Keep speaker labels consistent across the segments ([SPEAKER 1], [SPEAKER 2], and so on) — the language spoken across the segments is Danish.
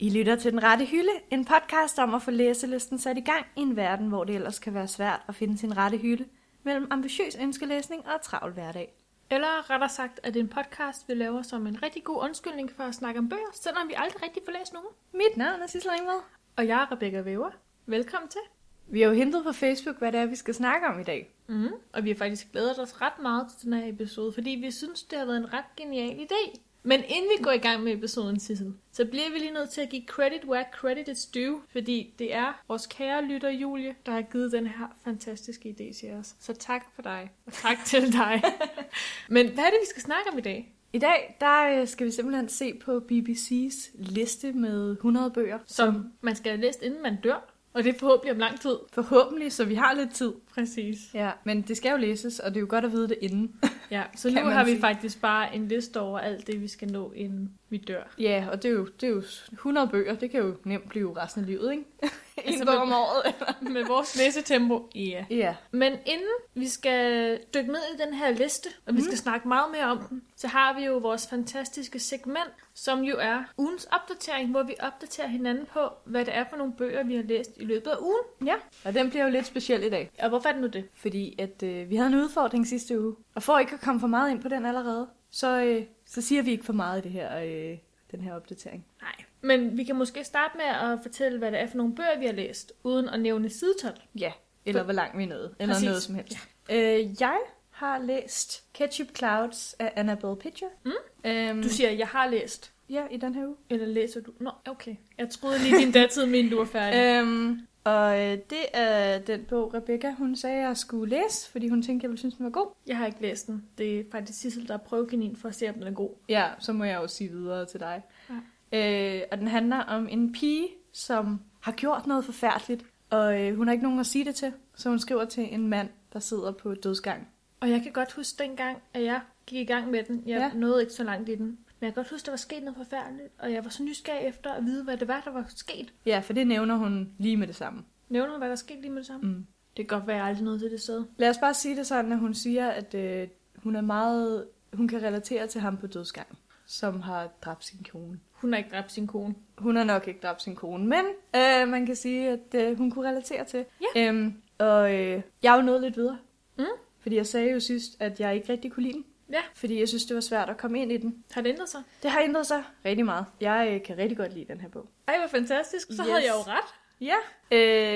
[SPEAKER 1] lytter til Den Rette Hylde, en podcast om at få læselisten sat i gang i en verden, hvor det ellers kan være svært at finde sin rette hylde mellem ambitiøs ønskelæsning og travl hverdag.
[SPEAKER 2] Eller rettere sagt, at en podcast, vi laver som en rigtig god undskyldning for at snakke om bøger, selvom vi aldrig rigtig får læst nogen.
[SPEAKER 1] Mit navn er Sissel Ringvad.
[SPEAKER 2] Og jeg er Rebecca Væver. Velkommen til.
[SPEAKER 1] Vi har jo hentet på Facebook, hvad det er, vi skal snakke om i dag.
[SPEAKER 2] Mm. Og vi har faktisk glædet os ret meget til den her episode, fordi vi synes, det har været en ret genial idé. Men inden vi går i gang med episoden, Sissel, så bliver vi lige nødt til at give credit where credit is due, fordi det er vores kære lytter Julie, der har givet den her fantastiske idé til os. Så tak for dig, og tak til dig. Men hvad er det, vi skal snakke om i dag?
[SPEAKER 1] I dag, der øh, skal vi simpelthen se på BBC's liste med 100 bøger.
[SPEAKER 2] Som man skal have læst, inden man dør, og det er forhåbentlig om lang tid.
[SPEAKER 1] Forhåbentlig, så vi har lidt tid.
[SPEAKER 2] Præcis.
[SPEAKER 1] Ja, men det skal jo læses, og det er jo godt at vide det inden.
[SPEAKER 2] Ja, så
[SPEAKER 1] Kan
[SPEAKER 2] nu
[SPEAKER 1] man
[SPEAKER 2] har vi
[SPEAKER 1] sige.
[SPEAKER 2] faktisk bare en liste over alt det, vi skal nå, inden vi dør.
[SPEAKER 1] Ja, og det er, jo, det er jo 100 bøger, det kan jo nemt blive resten af livet, ikke? en
[SPEAKER 2] Altså,
[SPEAKER 1] bog
[SPEAKER 2] men-
[SPEAKER 1] om året.
[SPEAKER 2] Med vores læsetempo. Ja. Yeah.
[SPEAKER 1] ja,
[SPEAKER 2] Men inden vi skal dykke ned i den her liste, og vi
[SPEAKER 1] Mhm.
[SPEAKER 2] skal snakke meget mere om den, så har vi jo vores fantastiske segment, som jo er ugens opdatering, hvor vi opdaterer hinanden på, hvad det er for nogle bøger, vi har læst i løbet af ugen.
[SPEAKER 1] ja. Og den bliver jo lidt speciel i dag,
[SPEAKER 2] Og hvorfor er det nu det?
[SPEAKER 1] fordi at øh, vi havde en udfordring sidste uge. Og for ikke at komme for meget ind på den allerede, så, øh, så siger vi ikke for meget i det her, øh, den her opdatering.
[SPEAKER 2] Nej. Men vi kan måske starte med at fortælle, hvad det er for nogle bøger, vi har læst, uden at nævne sidetol.
[SPEAKER 1] Ja, eller hvor langt vi nåede, eller
[SPEAKER 2] Præcis.
[SPEAKER 1] noget som helst. Ja. Øh, jeg har læst Ketchup Clouds af Annabelle Pitcher.
[SPEAKER 2] Mm.
[SPEAKER 1] Øhm,
[SPEAKER 2] Du siger, jeg har læst.
[SPEAKER 1] ja, i den her uge.
[SPEAKER 2] Eller læser du? Nå, okay. Jeg troede lige, din datid min du var færdig.
[SPEAKER 1] Øhm, og øh, det er den bog, Rebecca hun sagde, jeg skulle læse, fordi hun tænkte, jeg ville synes, den var god.
[SPEAKER 2] Jeg har ikke læst den. Det er faktisk Sissel, der er prøvekanin for at se, om den er god.
[SPEAKER 1] Ja, så må jeg jo sige videre til dig. Ja. Øh, og den handler om en pige, som har gjort noget forfærdeligt, og øh, hun har ikke nogen at sige det til, så hun skriver til en mand, der sidder på dødsgang.
[SPEAKER 2] Og jeg kan godt huske dengang, at jeg gik i gang med den. Jeg
[SPEAKER 1] Ja.
[SPEAKER 2] ja. nåede ikke så langt i den. Men jeg kan godt huske, der var sket noget forfærdeligt, og jeg var så nysgerrig efter at vide, hvad det var, der var sket.
[SPEAKER 1] Ja, for det nævner hun lige med det samme.
[SPEAKER 2] Nævner hun, hvad der skete lige med det samme?
[SPEAKER 1] Mm.
[SPEAKER 2] Det kan godt være, at jeg aldrig nåede til det sted.
[SPEAKER 1] Lad os bare sige det sådan, at hun siger, at øh, hun er meget, hun kan relatere til ham på dødsgang, som har dræbt sin kone.
[SPEAKER 2] Hun har ikke dræbt sin kone.
[SPEAKER 1] Hun har nok ikke dræbt sin kone, men øh, man kan sige, at øh, hun kunne relatere til.
[SPEAKER 2] Ja.
[SPEAKER 1] Øhm, og øh, jeg er jo nået lidt videre.
[SPEAKER 2] Mm.
[SPEAKER 1] Fordi jeg sagde jo sidst, at jeg ikke rigtig kunne lide den.
[SPEAKER 2] Ja.
[SPEAKER 1] Fordi jeg synes, det var svært at komme ind i den.
[SPEAKER 2] Har det ændret sig?
[SPEAKER 1] Det har ændret sig rigtig meget. Jeg øh, kan rigtig godt lide den her bog.
[SPEAKER 2] Ej, hvor fantastisk. Så
[SPEAKER 1] Yes.
[SPEAKER 2] yes. havde jeg jo ret.
[SPEAKER 1] Ja.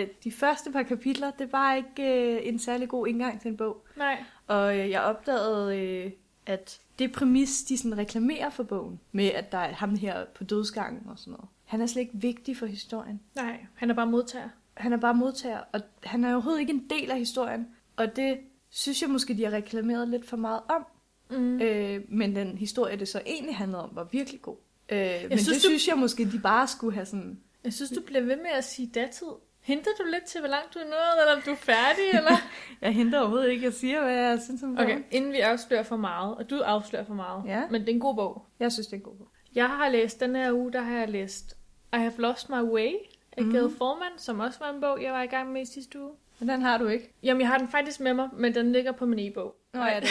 [SPEAKER 1] Øh, de første par kapitler, det var ikke øh, en særlig god indgang til en bog.
[SPEAKER 2] Nej.
[SPEAKER 1] Og øh, jeg opdagede, øh, at det præmis, de sådan reklamerer for bogen, med at der er ham her på dødsgangen og sådan noget, han er slet ikke vigtig for historien.
[SPEAKER 2] Nej, han er bare modtager.
[SPEAKER 1] Han er bare modtager, og han er overhovedet ikke en del af historien. Og det synes jeg måske, de har reklameret lidt for meget om.
[SPEAKER 2] Mm. Øh.
[SPEAKER 1] Øh, men den historie, det så egentlig handlede om, var virkelig god. Øh, men synes,
[SPEAKER 2] synes,
[SPEAKER 1] det
[SPEAKER 2] du-
[SPEAKER 1] synes jeg måske, de bare skulle have sådan...
[SPEAKER 2] Jeg synes, du bliver ved med at sige datid. Henter du lidt til, hvor langt du er nået, eller om du er færdig, eller?
[SPEAKER 1] Jeg henter overhovedet ikke, jeg siger, hvad jeg synes om
[SPEAKER 2] Okay, inden vi afslører for meget, og du afslører for meget,
[SPEAKER 1] Ja.
[SPEAKER 2] men det er en god bog.
[SPEAKER 1] Jeg synes, det er en god bog.
[SPEAKER 2] Jeg har læst, den her uge, der har jeg læst I Have Lost My Way af
[SPEAKER 1] Mhm.
[SPEAKER 2] mm. Gail Forman, som også var en bog, jeg var i gang med i sidste uge.
[SPEAKER 1] Men den har du ikke.
[SPEAKER 2] Jamen, jeg har den faktisk med mig, men den ligger på min e-bog.
[SPEAKER 1] Nå ja, det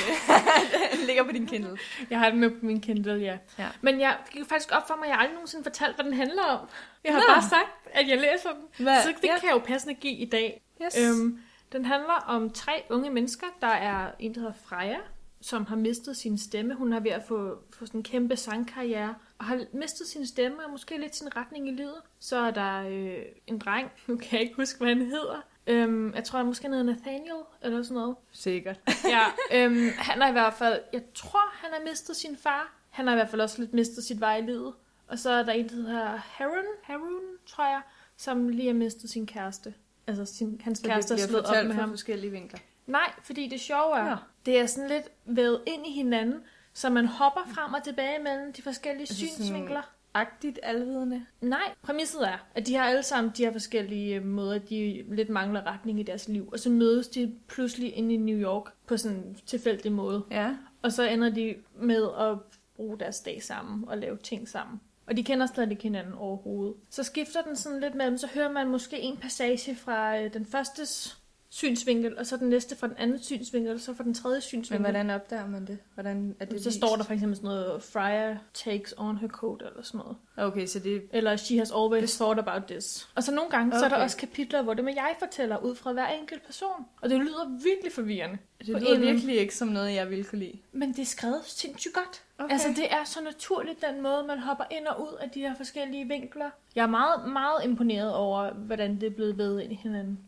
[SPEAKER 1] den ligger på din Kindle.
[SPEAKER 2] Jeg har den med på min Kindle, ja.
[SPEAKER 1] Ja.
[SPEAKER 2] Men jeg det gik faktisk op for mig, at jeg aldrig nogensinde fortalt, hvad den handler om. Jeg har
[SPEAKER 1] Nå.
[SPEAKER 2] Nå. bare sagt, at jeg læser den.
[SPEAKER 1] Hvad?
[SPEAKER 2] Så det
[SPEAKER 1] Ja.
[SPEAKER 2] ja. kan jeg jo passende give i dag.
[SPEAKER 1] Yes.
[SPEAKER 2] Øhm, den handler om tre unge mennesker. Der er en, der hedder Freja, som har mistet sin stemme. Hun er ved at få, få sådan en kæmpe sangkarriere, og har mistet sin stemme og måske lidt sin retning i livet. Så er der øh, en dreng, nu kan jeg ikke huske, hvad han hedder. Øhm, jeg tror, han måske han hedder Nathaniel, eller sådan noget.
[SPEAKER 1] Sikkert.
[SPEAKER 2] Ja, øhm, han har i hvert fald, jeg tror, han har mistet sin far. Han har i hvert fald også lidt mistet sit vej i livet. Og så er der en, der hedder Harun, Harun tror jeg, som lige har mistet sin kæreste. Altså, sin, hans
[SPEAKER 1] Så
[SPEAKER 2] kæreste
[SPEAKER 1] det bliver
[SPEAKER 2] er slået op
[SPEAKER 1] fortalt
[SPEAKER 2] med
[SPEAKER 1] fra
[SPEAKER 2] ham.
[SPEAKER 1] forskellige vinkler.
[SPEAKER 2] Nej, fordi det sjove er,
[SPEAKER 1] Nå.
[SPEAKER 2] ja. det er sådan lidt vævet ind i hinanden, så man hopper frem og tilbage mellem de forskellige
[SPEAKER 1] Altså sådan-
[SPEAKER 2] synsvinkler.
[SPEAKER 1] Agtigt alvidende.
[SPEAKER 2] Nej, præmisset er, at de har alle sammen de her forskellige øh, måder, de lidt mangler retning i deres liv, og så mødes de pludselig inde i New York på sådan en tilfældig måde.
[SPEAKER 1] Ja.
[SPEAKER 2] Og så ender de med at bruge deres dag sammen og lave ting sammen. Og de kender slet ikke hinanden overhovedet. Så skifter den sådan lidt mellem, så hører man måske en passage fra øh, den første synsvinkel, og så den næste fra den anden synsvinkel, og så fra den tredje synsvinkel.
[SPEAKER 1] Men hvordan opdager man det? Hvordan er det
[SPEAKER 2] så står der for eksempel sådan noget, Freya takes on her coat, eller sådan noget.
[SPEAKER 1] Okay, så det...
[SPEAKER 2] Eller she has always thought about this. Og så nogle gange, okay. så er der
[SPEAKER 1] Okay.
[SPEAKER 2] også kapitler, hvor det med jeg fortæller ud fra hver enkelt person. Og det lyder virkelig forvirrende.
[SPEAKER 1] Det
[SPEAKER 2] På
[SPEAKER 1] lyder
[SPEAKER 2] en-
[SPEAKER 1] virkelig ikke som noget, jeg ville kunne lide.
[SPEAKER 2] Men det er skrevet sindssygt godt.
[SPEAKER 1] Okay.
[SPEAKER 2] Okay. Altså, det er så naturligt, den måde, man hopper ind og ud af de her forskellige vinkler. Jeg er meget, meget imponeret over, hvordan det er blevet ved ind i hinanden.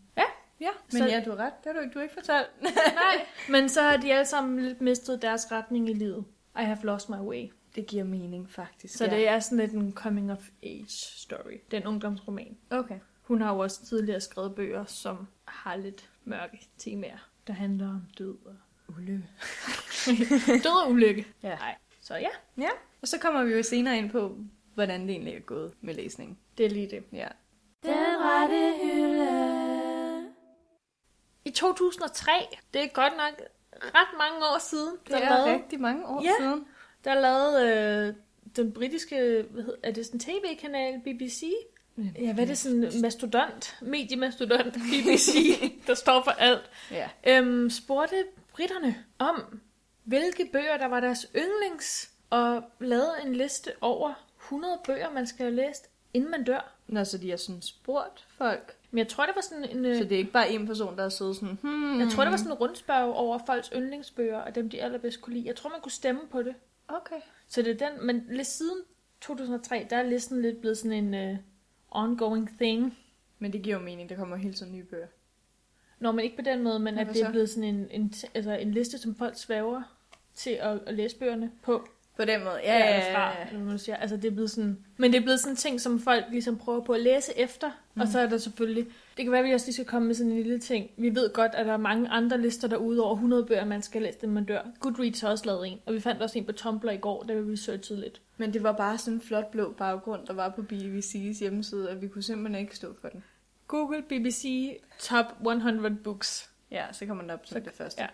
[SPEAKER 1] Ja, men
[SPEAKER 2] Så-
[SPEAKER 1] ja, du har ret. Det har du ikke, du har ikke fortalt.
[SPEAKER 2] Nej, men så har de alle sammen lidt mistet deres retning i livet. I have lost my way.
[SPEAKER 1] Det giver mening, faktisk.
[SPEAKER 2] Så ja. det er sådan lidt en coming of age story. Den ungdomsroman.
[SPEAKER 1] Okay.
[SPEAKER 2] Hun har jo også tidligere skrevet bøger, som har lidt mørke temaer, der handler om død og
[SPEAKER 1] Ulle.
[SPEAKER 2] død og ulykke.
[SPEAKER 1] Ja.
[SPEAKER 2] Nej. Så ja,
[SPEAKER 1] Og så kommer vi jo senere ind på, hvordan det egentlig er gået med læsningen.
[SPEAKER 2] det er lige det.
[SPEAKER 1] Ja.
[SPEAKER 3] Den rette hylde.
[SPEAKER 2] I 2003, det er godt nok ret mange år siden,
[SPEAKER 1] Det er
[SPEAKER 2] lavede,
[SPEAKER 1] rigtig mange år
[SPEAKER 2] Ja.
[SPEAKER 1] siden.
[SPEAKER 2] der lavede øh, den britiske, hvad hed, er det sådan en tv-kanal, BBC? Ja, hvad er det sådan, en mastodont, mediemastodont, BBC, der står for alt,
[SPEAKER 1] Ja.
[SPEAKER 2] øhm, spurgte britterne om, hvilke bøger, der var deres yndlings, og lavede en liste over 100 bøger, man skal have læst, inden man dør.
[SPEAKER 1] Nå, så de har sådan spurgt folk.
[SPEAKER 2] Men jeg tror, det var sådan en...
[SPEAKER 1] Så
[SPEAKER 2] Øh,
[SPEAKER 1] det er ikke bare en person, der har siddet sådan, hmm.
[SPEAKER 2] Jeg tror, det var sådan en rundspørg over folks yndlingsbøger, og dem, de allerbedst kunne lide. Jeg tror, man kunne stemme på det.
[SPEAKER 1] Okay.
[SPEAKER 2] Så det er den, men lidt siden 2003, der er listen lidt blevet sådan en uh, ongoing thing.
[SPEAKER 1] Men det giver jo mening, der kommer hele tiden nye bøger.
[SPEAKER 2] Nå, men ikke på den måde, men
[SPEAKER 1] Hvad
[SPEAKER 2] at det
[SPEAKER 1] så?
[SPEAKER 2] er blevet sådan en, en, t- altså en liste, som folk svæver til at, at læse bøgerne på.
[SPEAKER 1] På den måde, ja,
[SPEAKER 2] eller fra, eller hvad man siger. Altså, det er blevet sådan, men det er blevet sådan en ting, som folk ligesom prøver på at læse efter. Mm. Og så er der selvfølgelig... Det kan være, at vi også lige skal komme med sådan en lille ting. Vi ved godt, at der er mange andre lister derude over 100 bøger, man skal læse, inden man dør. Goodreads har også lavet en, og vi fandt også en på Tumblr i går, da vi researchede lidt.
[SPEAKER 1] Men det var bare sådan en flot blå baggrund, der var på BBC's hjemmeside, og vi kunne simpelthen ikke stå for den.
[SPEAKER 2] Google BBC Top 100 Books.
[SPEAKER 1] Ja, så kommer den op som det første.
[SPEAKER 2] ja.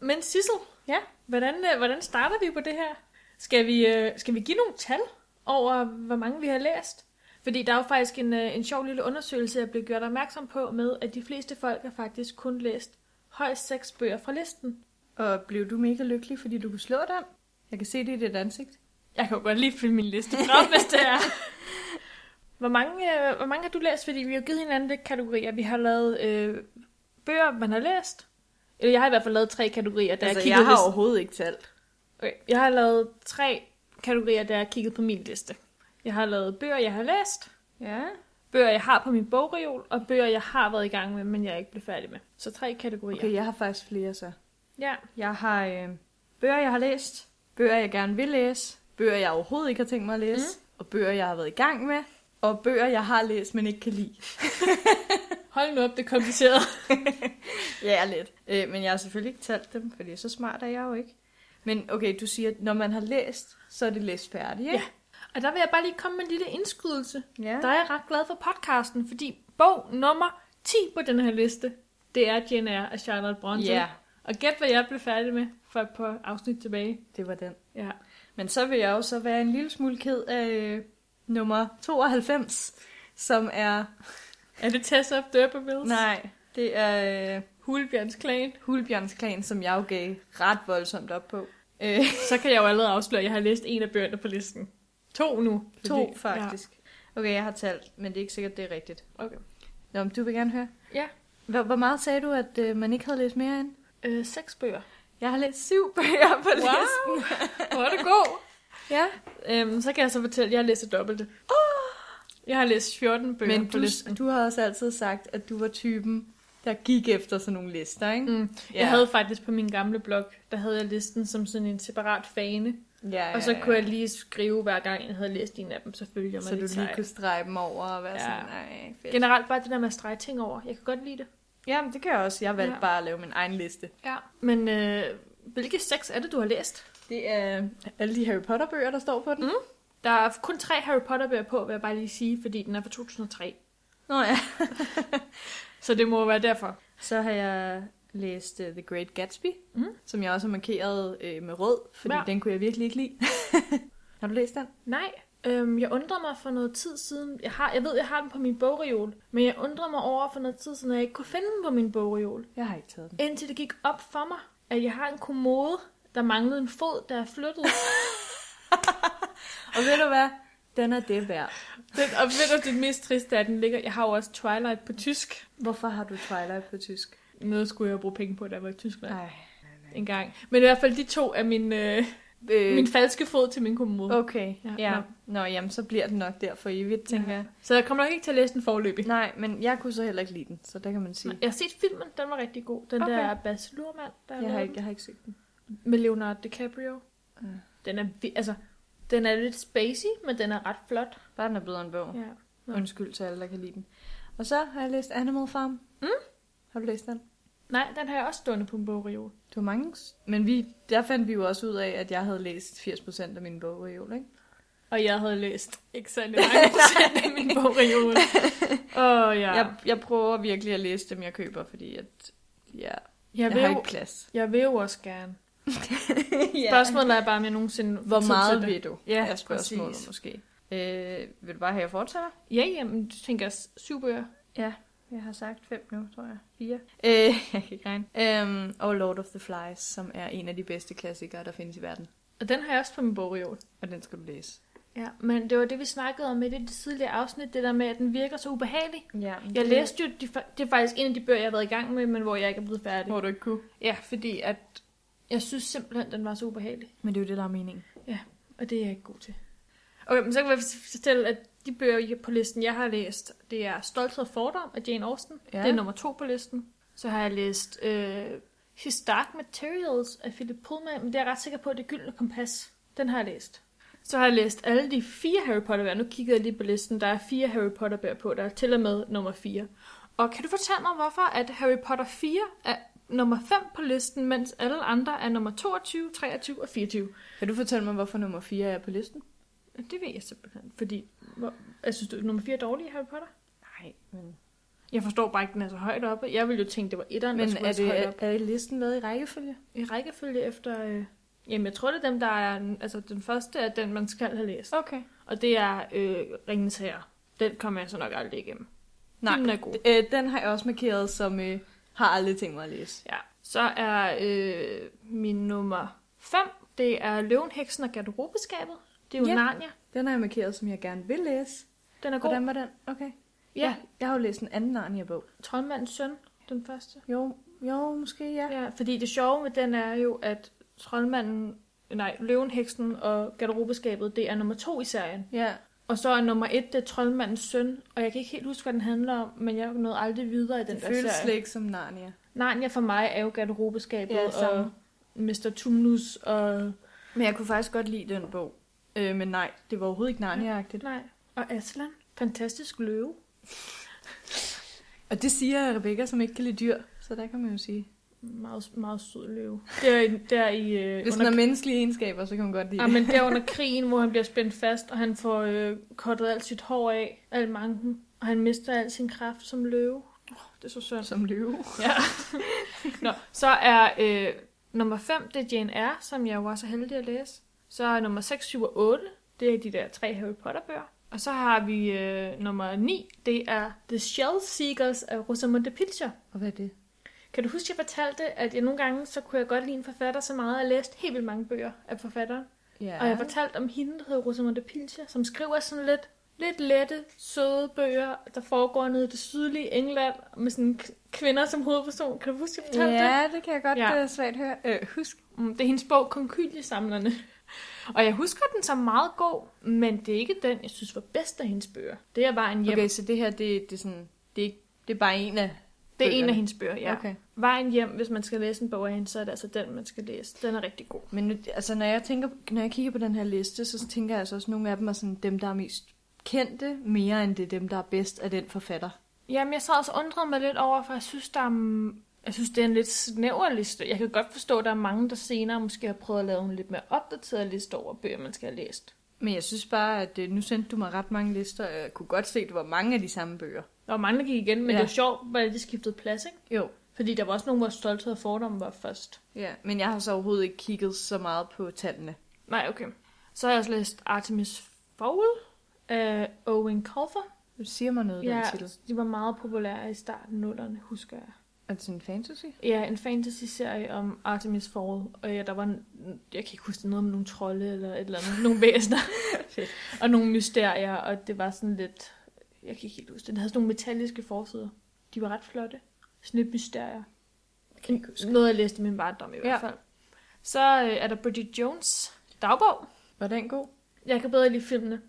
[SPEAKER 2] Men Sissel,
[SPEAKER 1] Ja.
[SPEAKER 2] hvordan, øh, hvordan starter vi på det her? Skal vi, øh, skal vi give nogle tal over, hvor mange vi har læst? Fordi der er jo faktisk en, øh, en sjov lille undersøgelse, jeg blev gjort opmærksom på med, at de fleste folk har faktisk kun læst højst seks bøger fra listen.
[SPEAKER 1] Og blev du mega lykkelig, fordi du kunne slå den? Jeg kan se det i dit ansigt.
[SPEAKER 2] Jeg kan jo godt lige finde min liste frem, hvis det er. Hvor mange, øh, hvor mange har du læst? Fordi vi har givet hinanden lidt kategorier. Vi har lavet øh, bøger, man har læst. Eller jeg har i hvert fald lavet tre kategorier, da Altså, jeg kiggede listen.
[SPEAKER 1] Altså, overhovedet ikke talt.
[SPEAKER 2] Okay, jeg har lavet tre kategorier, der jeg kigget på min liste. Jeg har lavet bøger, jeg har læst,
[SPEAKER 1] Ja.
[SPEAKER 2] bøger, jeg har på min bogreol, og bøger, jeg har været i gang med, men jeg ikke blev færdig med. Så tre kategorier.
[SPEAKER 1] Okay, jeg har faktisk flere så.
[SPEAKER 2] Ja.
[SPEAKER 1] Jeg har øh, bøger, jeg har læst, bøger, jeg gerne vil læse, bøger, jeg overhovedet ikke har tænkt mig at læse, mm. og bøger, jeg har været i gang med, og bøger, jeg har læst, men ikke kan lide.
[SPEAKER 2] Hold nu op, det er kompliceret.
[SPEAKER 1] Ja, lidt. Øh, men jeg har selvfølgelig ikke talt dem, fordi så smart er jeg jo ikke. Men okay, du siger, at når man har læst, så er det læst færdigt, ikke?
[SPEAKER 2] og der vil jeg bare lige komme med en lille indskydelse.
[SPEAKER 1] Ja.
[SPEAKER 2] Der er jeg ret glad for podcasten, fordi bog nummer 10 på den her liste, det er Jane Eyre af Charlotte Bronte.
[SPEAKER 1] ja,
[SPEAKER 2] Og gæt, hvad jeg blev færdig med for et par afsnit tilbage.
[SPEAKER 1] det var den.
[SPEAKER 2] Ja.
[SPEAKER 1] Men så vil jeg jo så være en lille smule ked af øh, nummer 92, som er...
[SPEAKER 2] Er det Tess of Durbervilles?
[SPEAKER 1] Nej, det er øh,
[SPEAKER 2] Hulbjørns Klan?
[SPEAKER 1] Hulbjørns Klan, som jeg jo gav ret voldsomt op på. Øh,
[SPEAKER 2] Så kan jeg jo allerede afsløre, at jeg har læst en af bøgerne på listen. To nu.
[SPEAKER 1] to, faktisk. Ja. Okay, jeg har talt, men det er ikke sikkert, det er rigtigt.
[SPEAKER 2] Ja. Okay.
[SPEAKER 1] Nå, men du vil gerne høre.
[SPEAKER 2] ja.
[SPEAKER 1] Hvor, hvor meget sagde du, at øh, man ikke havde læst mere end?
[SPEAKER 2] Øh, seks bøger.
[SPEAKER 1] Jeg har læst syv bøger på
[SPEAKER 2] Wow.
[SPEAKER 1] listen.
[SPEAKER 2] Hvor er det god.
[SPEAKER 1] Ja.
[SPEAKER 2] øhm, så kan jeg så fortælle, at jeg har læst det dobbelte. Oh! Jeg har læst 14 bøger
[SPEAKER 1] Men
[SPEAKER 2] på
[SPEAKER 1] du,
[SPEAKER 2] listen.
[SPEAKER 1] du har også altid sagt, at du var typen, der gik efter sådan nogle lister, ikke?
[SPEAKER 2] Mm. Ja. Jeg havde faktisk på min gamle blog, der havde jeg listen som sådan en separat fane.
[SPEAKER 1] ja,
[SPEAKER 2] Og så kunne jeg lige skrive, hver gang jeg havde læst en af dem, så følte jeg mig
[SPEAKER 1] Så du
[SPEAKER 2] lidt
[SPEAKER 1] lige
[SPEAKER 2] sej.
[SPEAKER 1] kunne strege dem over og være ja.
[SPEAKER 2] Ja.
[SPEAKER 1] sådan, nej, fedt.
[SPEAKER 2] Generelt bare det der med at strege ting over. Jeg kan godt lide det.
[SPEAKER 1] Jamen, det kan jeg også. Jeg valgte ja.
[SPEAKER 2] Ja.
[SPEAKER 1] bare at lave min egen liste.
[SPEAKER 2] Ja. Men øh, hvilke seks er det, du har læst?
[SPEAKER 1] Det er alle de Harry Potter-bøger, der står på den. Mm.
[SPEAKER 2] Der er kun tre Harry Potter-bøger på, vil jeg bare lige sige, fordi den er fra 2003.
[SPEAKER 1] Nå ja.
[SPEAKER 2] Så det må være derfor.
[SPEAKER 1] Så har jeg læst uh, The Great Gatsby,
[SPEAKER 2] Mm.
[SPEAKER 1] som jeg også har markeret øh, med rød, fordi ja.
[SPEAKER 2] Ja.
[SPEAKER 1] den kunne jeg virkelig ikke lide. har du læst den?
[SPEAKER 2] Nej, Øhm, jeg undrer mig for noget tid siden. Jeg, har, jeg ved, jeg har den på min bogreol, men jeg undrer mig over for noget tid siden, at jeg ikke kunne finde den på min bogreol.
[SPEAKER 1] Jeg har ikke taget den.
[SPEAKER 2] Indtil det gik op for mig, at jeg har en kommode, der manglede en fod, der er flyttet.
[SPEAKER 1] Og ved du hvad? Den er det værd.
[SPEAKER 2] den, og ved du, det mest triste er, at den ligger... Jeg har jo også Twilight på tysk.
[SPEAKER 1] Hvorfor har du Twilight på tysk?
[SPEAKER 2] Noget skulle jeg jo bruge penge på, da jeg var i Tyskland
[SPEAKER 1] Nej.
[SPEAKER 2] en gang. Men i hvert fald, de to er min, øh,
[SPEAKER 1] Øh,
[SPEAKER 2] min falske fod til min kommode.
[SPEAKER 1] okay,
[SPEAKER 2] Ja,
[SPEAKER 1] ja. ja. Nå, jamen, så bliver den nok der for evigt, tænker ja. jeg.
[SPEAKER 2] Så jeg kommer nok ikke til at læse den forløbig.
[SPEAKER 1] Nej, men jeg kunne så heller ikke lide den, så der kan man sige.
[SPEAKER 2] Jeg har set filmen, den var rigtig god. Den okay.
[SPEAKER 1] Okay.
[SPEAKER 2] der Baz Luhrmann, der
[SPEAKER 1] Jeg har,
[SPEAKER 2] lavede
[SPEAKER 1] ikke, jeg har ikke set den.
[SPEAKER 2] den. med Leonardo DiCaprio.
[SPEAKER 1] Ja.
[SPEAKER 2] Den er, vi- altså, den er lidt spacey, men den er ret flot.
[SPEAKER 1] Bare den er blevet en bog.
[SPEAKER 2] Ja. Nå.
[SPEAKER 1] Ja. Undskyld til alle, der kan lide den. Og så har jeg læst Animal Farm. Mm? Har du læst den?
[SPEAKER 2] Nej, den har jeg også stående på en bogreol.
[SPEAKER 1] Det var mange. s- Men vi, der fandt vi jo også ud af, at jeg havde læst 80% af mine bogreol, ikke?
[SPEAKER 2] Og jeg havde læst ikke særlig mange procent af min bogreol. Åh, ja.
[SPEAKER 1] Ja.
[SPEAKER 2] Jeg,
[SPEAKER 1] Jeg, jeg prøver virkelig at læse dem, jeg køber, fordi at, ja,
[SPEAKER 2] jeg,
[SPEAKER 1] jeg,
[SPEAKER 2] vil
[SPEAKER 1] jeg har
[SPEAKER 2] jo,
[SPEAKER 1] ikke plads.
[SPEAKER 2] jeg vil jo også gerne.
[SPEAKER 1] ja.
[SPEAKER 2] Spørgsmålet er bare, om jeg nogensinde får
[SPEAKER 1] Hvor
[SPEAKER 2] tid
[SPEAKER 1] meget
[SPEAKER 2] til det.
[SPEAKER 1] vil du?
[SPEAKER 2] Ja,
[SPEAKER 1] er spørgsmålet
[SPEAKER 2] præcis.
[SPEAKER 1] måske. Øh, vil du bare have, at jeg fortsætter?
[SPEAKER 2] Ja, jamen, du tænker s- syv bøger.
[SPEAKER 1] Ja, jeg har sagt fem nu, tror jeg. Fire. Øh, jeg kan ikke regne. Øhm, og Lord of the Flies, som er en af de bedste klassikere, der findes i verden.
[SPEAKER 2] Og den har jeg også på min bogreol.
[SPEAKER 1] Og den skal du læse.
[SPEAKER 2] Ja, men det var det, vi snakkede om i det tidligere afsnit, det der med, at den virker så ubehagelig.
[SPEAKER 1] Ja,
[SPEAKER 2] Jeg læste jo, de, fa- det er faktisk en af de bøger, jeg har været i gang med, men hvor jeg ikke er blevet færdig.
[SPEAKER 1] du ikke kunne.
[SPEAKER 2] Ja, fordi at jeg synes simpelthen, den var så ubehagelig,
[SPEAKER 1] Men det er jo det, der er meningen.
[SPEAKER 2] og det er jeg ikke god til. Okay, men så kan jeg fortælle, at de bøger jeg- på listen, jeg har læst, det er Stolthed og Fordom af Jane Austen. Ja.
[SPEAKER 1] Ja.
[SPEAKER 2] Det er nummer to på listen. Så har jeg læst øh, His Dark Materials af Philip Pullman, men det er jeg ret sikker på, at det er Gyldne Kompas. Den har jeg læst. Så har jeg læst alle de fire Harry Potter-bøger. Nu kigger jeg lige på listen. Der er fire Harry Potter-bøger på. Der er til og med nummer 4. Og kan du fortælle mig, hvorfor at Harry Potter 4 er nummer 5 på listen, mens alle andre er nummer 22, 23 og 24?
[SPEAKER 1] Kan du fortælle mig, hvorfor nummer 4 er på listen?
[SPEAKER 2] Det ved jeg simpelthen, fordi... Hvor, jeg synes, du, nummer 4 er dårlig i Harry Potter?
[SPEAKER 1] Nej, men...
[SPEAKER 2] Jeg forstår bare ikke, den er så højt oppe. Jeg ville jo tænke, det var etteren, der
[SPEAKER 1] Men
[SPEAKER 2] skulle
[SPEAKER 1] er,
[SPEAKER 2] være så
[SPEAKER 1] det,
[SPEAKER 2] højt
[SPEAKER 1] er,
[SPEAKER 2] op.
[SPEAKER 1] er listen med i rækkefølge?
[SPEAKER 2] I rækkefølge efter... Øh, jamen, jeg tror, det er dem, der er... Altså, den første er den, man skal have læst.
[SPEAKER 1] Okay.
[SPEAKER 2] Og det er øh, Ringens Herre. Den kommer jeg så nok aldrig igennem.
[SPEAKER 1] Nej.
[SPEAKER 2] Den er god.
[SPEAKER 1] Øh, den har jeg også markeret som øh, har aldrig tænkt mig at læse.
[SPEAKER 2] Ja. Så er øh, min nummer 5, det er Løven, Heksen og Garderobeskabet. Det er jo
[SPEAKER 1] Ja.
[SPEAKER 2] Narnia.
[SPEAKER 1] Den har jeg markeret, som jeg gerne vil læse.
[SPEAKER 2] Den er god.
[SPEAKER 1] Hvordan var den? Okay.
[SPEAKER 2] Ja.
[SPEAKER 1] Jeg har jo læst en anden Narnia-bog.
[SPEAKER 2] Troldmandens søn, den første.
[SPEAKER 1] Jo, jo, måske ja.
[SPEAKER 2] Ja, fordi det sjove med den er jo, at troldmanden, nej, Løven, Heksen og Garderobeskabet, det er nummer to i serien.
[SPEAKER 1] Ja.
[SPEAKER 2] Og så er nummer et, det er Troldmandens søn, og jeg kan ikke helt huske, hvad den handler om, men jeg nåede aldrig videre i den
[SPEAKER 1] Den det
[SPEAKER 2] der
[SPEAKER 1] føles
[SPEAKER 2] serie.
[SPEAKER 1] slet ikke som Narnia.
[SPEAKER 2] Narnia for mig er jo Garderobeskabet
[SPEAKER 1] Ja, samme.
[SPEAKER 2] og Mr. Tumnus og...
[SPEAKER 1] Men jeg kunne faktisk godt lide den bog. Øh, men nej, det var overhovedet ikke Narnia-agtigt.
[SPEAKER 2] Nej, og Aslan. Fantastisk løve.
[SPEAKER 1] Og det siger Rebecca, som ikke kan lide dyr. Så der kan man jo sige.
[SPEAKER 2] Meget, meget sød løve. Det er, i- der i... Øh,
[SPEAKER 1] Hvis den har
[SPEAKER 2] under,
[SPEAKER 1] menneskelige egenskaber, så kan man godt lide
[SPEAKER 2] ja,
[SPEAKER 1] det.
[SPEAKER 2] men der under krigen, hvor han bliver spændt fast, og han får øh, kottet alt sit hår af, al manken, og han mister al sin kraft som løve. Oh, det er så synd.
[SPEAKER 1] Som løve.
[SPEAKER 2] Ja. Nå, så er øh, nummer 5, det er Jane Eyre, som jeg jo var så heldig at læse. Så er nummer 6, 7 og 8, det er de der tre Harry Potter-bøger. Og så har vi øh, nummer 9, det er The Shell Seekers af Rosamunde Pilcher.
[SPEAKER 1] Og hvad er det?
[SPEAKER 2] Kan du huske, jeg fortalte, at jeg nogle gange, så kunne jeg godt lide en forfatter så meget, at jeg læste helt vildt mange bøger af forfatteren.
[SPEAKER 1] Ja.
[SPEAKER 2] Og jeg fortalte om hende, der hedder Rosamunde Pilcher, som skriver sådan lidt, lidt lette, søde bøger, der foregår nede i det sydlige England, med sådan k- kvinder som hovedperson. Kan du huske, jeg fortalte det?
[SPEAKER 1] Ja, det kan jeg godt
[SPEAKER 2] Ja.
[SPEAKER 1] ja. svært høre. Øh, husk.
[SPEAKER 2] Mm, Det er hendes bog, Konkylie-samlerne. Og jeg husker den som meget god, men det er ikke den, jeg synes var bedst af hendes bøger. Det er bare en hjem.
[SPEAKER 1] Okay,
[SPEAKER 2] Okay,
[SPEAKER 1] så det her, det, det er sådan... Det er, ikke- det er bare en af...
[SPEAKER 2] det er en
[SPEAKER 1] bøgerne.
[SPEAKER 2] af hendes bøger, ja. Okay.
[SPEAKER 1] Okay.
[SPEAKER 2] Vejen hjem, hvis man skal læse en bog af hende, så er det altså den, man skal læse. Den er rigtig god.
[SPEAKER 1] Men nu, altså, når, jeg tænker, når jeg kigger på den her liste, så tænker jeg altså også, at nogle af dem er sådan dem, der er mest kendte, mere end det er dem, der er bedst af den forfatter.
[SPEAKER 2] Jamen, jeg sad også og undrede mig lidt over, for jeg synes, der er, mm, jeg synes, det er en lidt snæver liste. Jeg kan godt forstå, at der er mange, der senere måske har prøvet at lave en lidt mere opdateret liste over bøger, man skal have læst.
[SPEAKER 1] Men jeg synes bare, at øh, nu sendte du mig ret mange lister, og jeg kunne godt se, at det var mange af de samme bøger.
[SPEAKER 2] Der var mange, der gik igen, men ja.
[SPEAKER 1] Ja.
[SPEAKER 2] det var sjovt, hvordan de skiftede plads, ikke?
[SPEAKER 1] Jo.
[SPEAKER 2] Fordi der var også nogle, hvor stolthed og fordomme var først.
[SPEAKER 1] Ja, men jeg har så overhovedet ikke kigget så meget på tallene.
[SPEAKER 2] Nej, okay. Så har jeg også læst Artemis Fowl af Owen Colfer.
[SPEAKER 1] Du siger mig noget,
[SPEAKER 2] Ja,
[SPEAKER 1] den titel.
[SPEAKER 2] de var meget populære i starten af 0'erne, husker jeg.
[SPEAKER 1] Er det sådan en fantasy?
[SPEAKER 2] Ja, en fantasy-serie om Artemis Fowl, og ja, der var, en, jeg kan ikke huske noget med nogle trolde eller et eller andet, nogle væsener,
[SPEAKER 1] Fedt.
[SPEAKER 2] og nogle mysterier, og det var sådan lidt, jeg kan ikke helt huske det, den havde sådan nogle metalliske forsider. De var ret flotte. Sådan lidt mysterier.
[SPEAKER 1] Kan jeg ikke huske.
[SPEAKER 2] Noget, jeg læste i min barndom i ja. hvert fald. Så øh, er der Bridget Jones dagbog.
[SPEAKER 1] Var den god?
[SPEAKER 2] Jeg kan bedre lide filmene.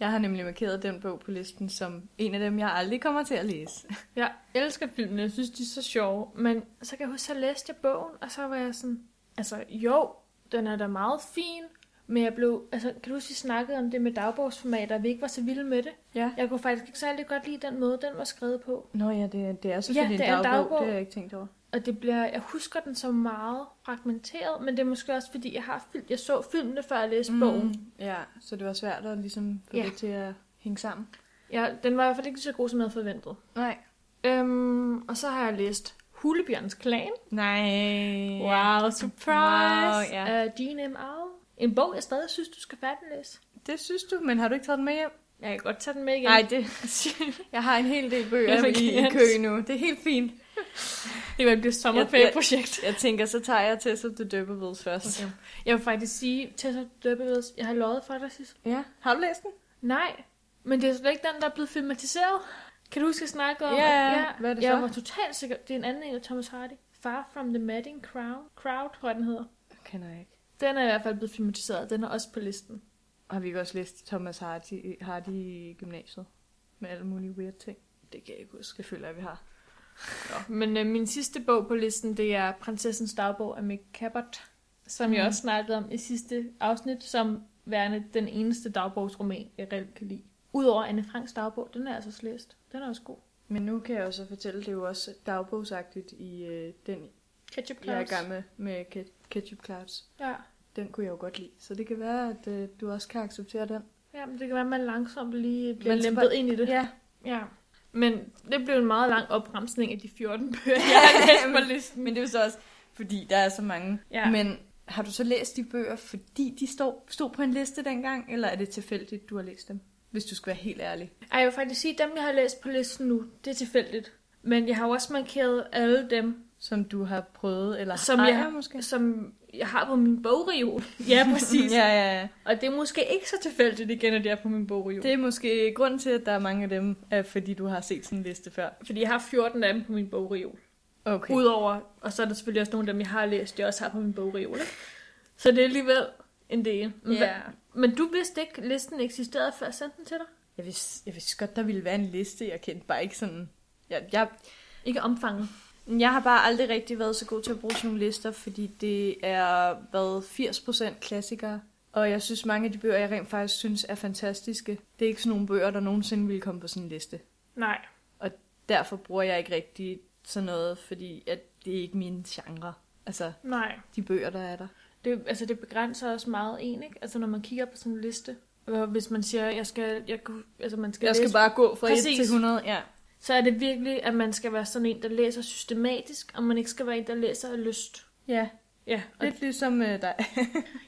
[SPEAKER 1] Jeg har nemlig markeret den bog på listen som en af dem, jeg aldrig kommer til at læse.
[SPEAKER 2] Jeg elsker filmene, jeg synes, de er så sjove. Men så kan jeg huske, så læste jeg bogen, og så var jeg sådan, altså jo, den er da meget fin, men jeg blev, altså kan du huske, vi snakkede om det med dagbogsformater, og vi ikke var så vilde med det.
[SPEAKER 1] Ja.
[SPEAKER 2] Jeg kunne faktisk ikke særlig godt lide den måde, den var skrevet på.
[SPEAKER 1] Nå ja, det, det er selvfølgelig
[SPEAKER 2] det
[SPEAKER 1] en,
[SPEAKER 2] er en
[SPEAKER 1] dagbog.
[SPEAKER 2] dagbog.
[SPEAKER 1] Det har jeg ikke tænkt over.
[SPEAKER 2] Og det bliver, jeg husker den så meget fragmenteret, men det er måske også, fordi jeg har film, jeg så filmene, før jeg læste mm. bogen.
[SPEAKER 1] Ja, så det var svært at ligesom få
[SPEAKER 2] Ja.
[SPEAKER 1] ja. det til at hænge sammen.
[SPEAKER 2] Ja, den var i hvert fald ikke så god, som jeg havde forventet.
[SPEAKER 1] Nej.
[SPEAKER 2] Øhm, og så har jeg læst Hulebjørns Klan.
[SPEAKER 1] Nej.
[SPEAKER 2] Wow, surprise!
[SPEAKER 1] Wow,
[SPEAKER 2] Wow,
[SPEAKER 1] ja.
[SPEAKER 2] ja. uh, Gene M. Au. En bog, jeg stadig synes, du skal færdiglæse.
[SPEAKER 1] Det synes du, men har du ikke taget den med hjem?
[SPEAKER 2] Jeg kan godt tage den med igen.
[SPEAKER 1] Nej, det, jeg har en hel del bøger
[SPEAKER 2] Jeg vil
[SPEAKER 1] i, i
[SPEAKER 2] gerne-
[SPEAKER 1] kø nu. Det er helt fint.
[SPEAKER 2] det var et sommerferieprojekt.
[SPEAKER 1] Jeg tænker, så tager jeg Tess of the Døbbevilles først.
[SPEAKER 2] Okay. Jeg vil faktisk sige, Tessa Døbbevids, jeg har lovet for dig sidst.
[SPEAKER 1] Ja, har du læst den?
[SPEAKER 2] Nej, men det er slet ikke den, der er blevet filmatiseret. Kan du huske at snakke om?
[SPEAKER 1] Ja,
[SPEAKER 2] at-
[SPEAKER 1] hvad er det
[SPEAKER 2] Jeg
[SPEAKER 1] så?
[SPEAKER 2] var totalt sikker. Det er en anden en af Thomas Hardy. Far from the Madding Crowd, Crowd tror jeg, den hedder.
[SPEAKER 1] Kender jeg ikke.
[SPEAKER 2] Den er i hvert fald blevet filmatiseret. Den er også på listen.
[SPEAKER 1] Har vi ikke også læst Thomas Hardy, Hardy i gymnasiet? Med alle mulige weird ting.
[SPEAKER 2] Det kan jeg ikke huske.
[SPEAKER 1] Det føler jeg, vi har.
[SPEAKER 2] Men øh, min sidste bog på listen, det er Prinsessens dagbog af Mick Cabot, som mm. jeg
[SPEAKER 1] Mhm.
[SPEAKER 2] også snakkede om i sidste afsnit, som værende den eneste dagbogsroman, jeg reelt kan lide. Udover Anne Franks dagbog, den er altså også læst. Den er også god.
[SPEAKER 1] Men nu kan jeg jo så fortælle, det er jo også dagbogsagtigt i øh, den,
[SPEAKER 2] Ketchup
[SPEAKER 1] jeg er i gang med, med Ke- Ketchup Clouds.
[SPEAKER 2] Ja.
[SPEAKER 1] Den kunne jeg jo godt lide. Så det kan være, at øh, du også kan acceptere den.
[SPEAKER 2] ja, men det kan være, at man langsomt lige bliver
[SPEAKER 1] Men
[SPEAKER 2] lempet
[SPEAKER 1] spørg-
[SPEAKER 2] ind i det.
[SPEAKER 1] Ja,
[SPEAKER 2] ja. Men det blev en meget lang opremsning af de 14 bøger, jeg har læst på listen.
[SPEAKER 1] men det er jo så også, fordi der er så mange.
[SPEAKER 2] Ja.
[SPEAKER 1] Men har du så læst de bøger, fordi de stod, stod på en liste dengang, eller er det tilfældigt, du har læst dem? Hvis du skal være helt ærlig.
[SPEAKER 2] Ej, jeg vil faktisk sige, at dem, jeg har læst på listen nu, det er tilfældigt. Men jeg har jo også markeret alle dem,
[SPEAKER 1] Som du har prøvet, eller
[SPEAKER 2] Som
[SPEAKER 1] ejer
[SPEAKER 2] jeg-
[SPEAKER 1] måske?
[SPEAKER 2] som jeg har på min bogreol. Ja, præcis.
[SPEAKER 1] ja, ja, ja.
[SPEAKER 2] Og det er måske ikke så tilfældigt igen, at jeg er på min bogreol.
[SPEAKER 1] Det er måske grunden til, at der er mange af dem, er fordi du har set sådan en liste før.
[SPEAKER 2] Fordi jeg har 14 af dem på min bogreol.
[SPEAKER 1] Okay.
[SPEAKER 2] Okay. Udover, og så er der selvfølgelig også nogle af dem, jeg har læst, jeg også har på min bogreol. ikke? Så det er alligevel en del. Men
[SPEAKER 1] Ja.
[SPEAKER 2] hva- Men du vidste ikke, at listen eksisterede, før jeg sendte den til dig?
[SPEAKER 1] Jeg vidste, jeg vidste godt, der ville være en liste. Jeg kendte bare ikke sådan... Jeg, jeg,
[SPEAKER 2] Ikke omfanget.
[SPEAKER 1] jeg har bare aldrig rigtig været så god til at bruge sådan nogle lister, fordi det er været 80% klassikere. Og jeg synes, mange af de bøger, jeg rent faktisk synes er fantastiske, det er ikke sådan nogle bøger, der nogensinde ville komme på sådan en liste.
[SPEAKER 2] Nej.
[SPEAKER 1] Derfor bruger jeg ikke rigtig sådan noget, fordi at det er ikke mine genre. Altså,
[SPEAKER 2] Nej.
[SPEAKER 1] de bøger, der er der.
[SPEAKER 2] Det, altså det begrænser også meget en, ikke? Altså når man kigger på sådan en liste. Og hvis man siger, jeg skal, jeg, kunne- altså man skal
[SPEAKER 1] Jeg skal
[SPEAKER 2] læse
[SPEAKER 1] bare gå fra
[SPEAKER 2] Præcis.
[SPEAKER 1] 1 til 100. Ja.
[SPEAKER 2] så er det virkelig, at man skal være sådan en, der læser systematisk, og man ikke skal være en, der læser af lyst.
[SPEAKER 1] ja.
[SPEAKER 2] Ja, og
[SPEAKER 1] Lidt ligesom øh, dig.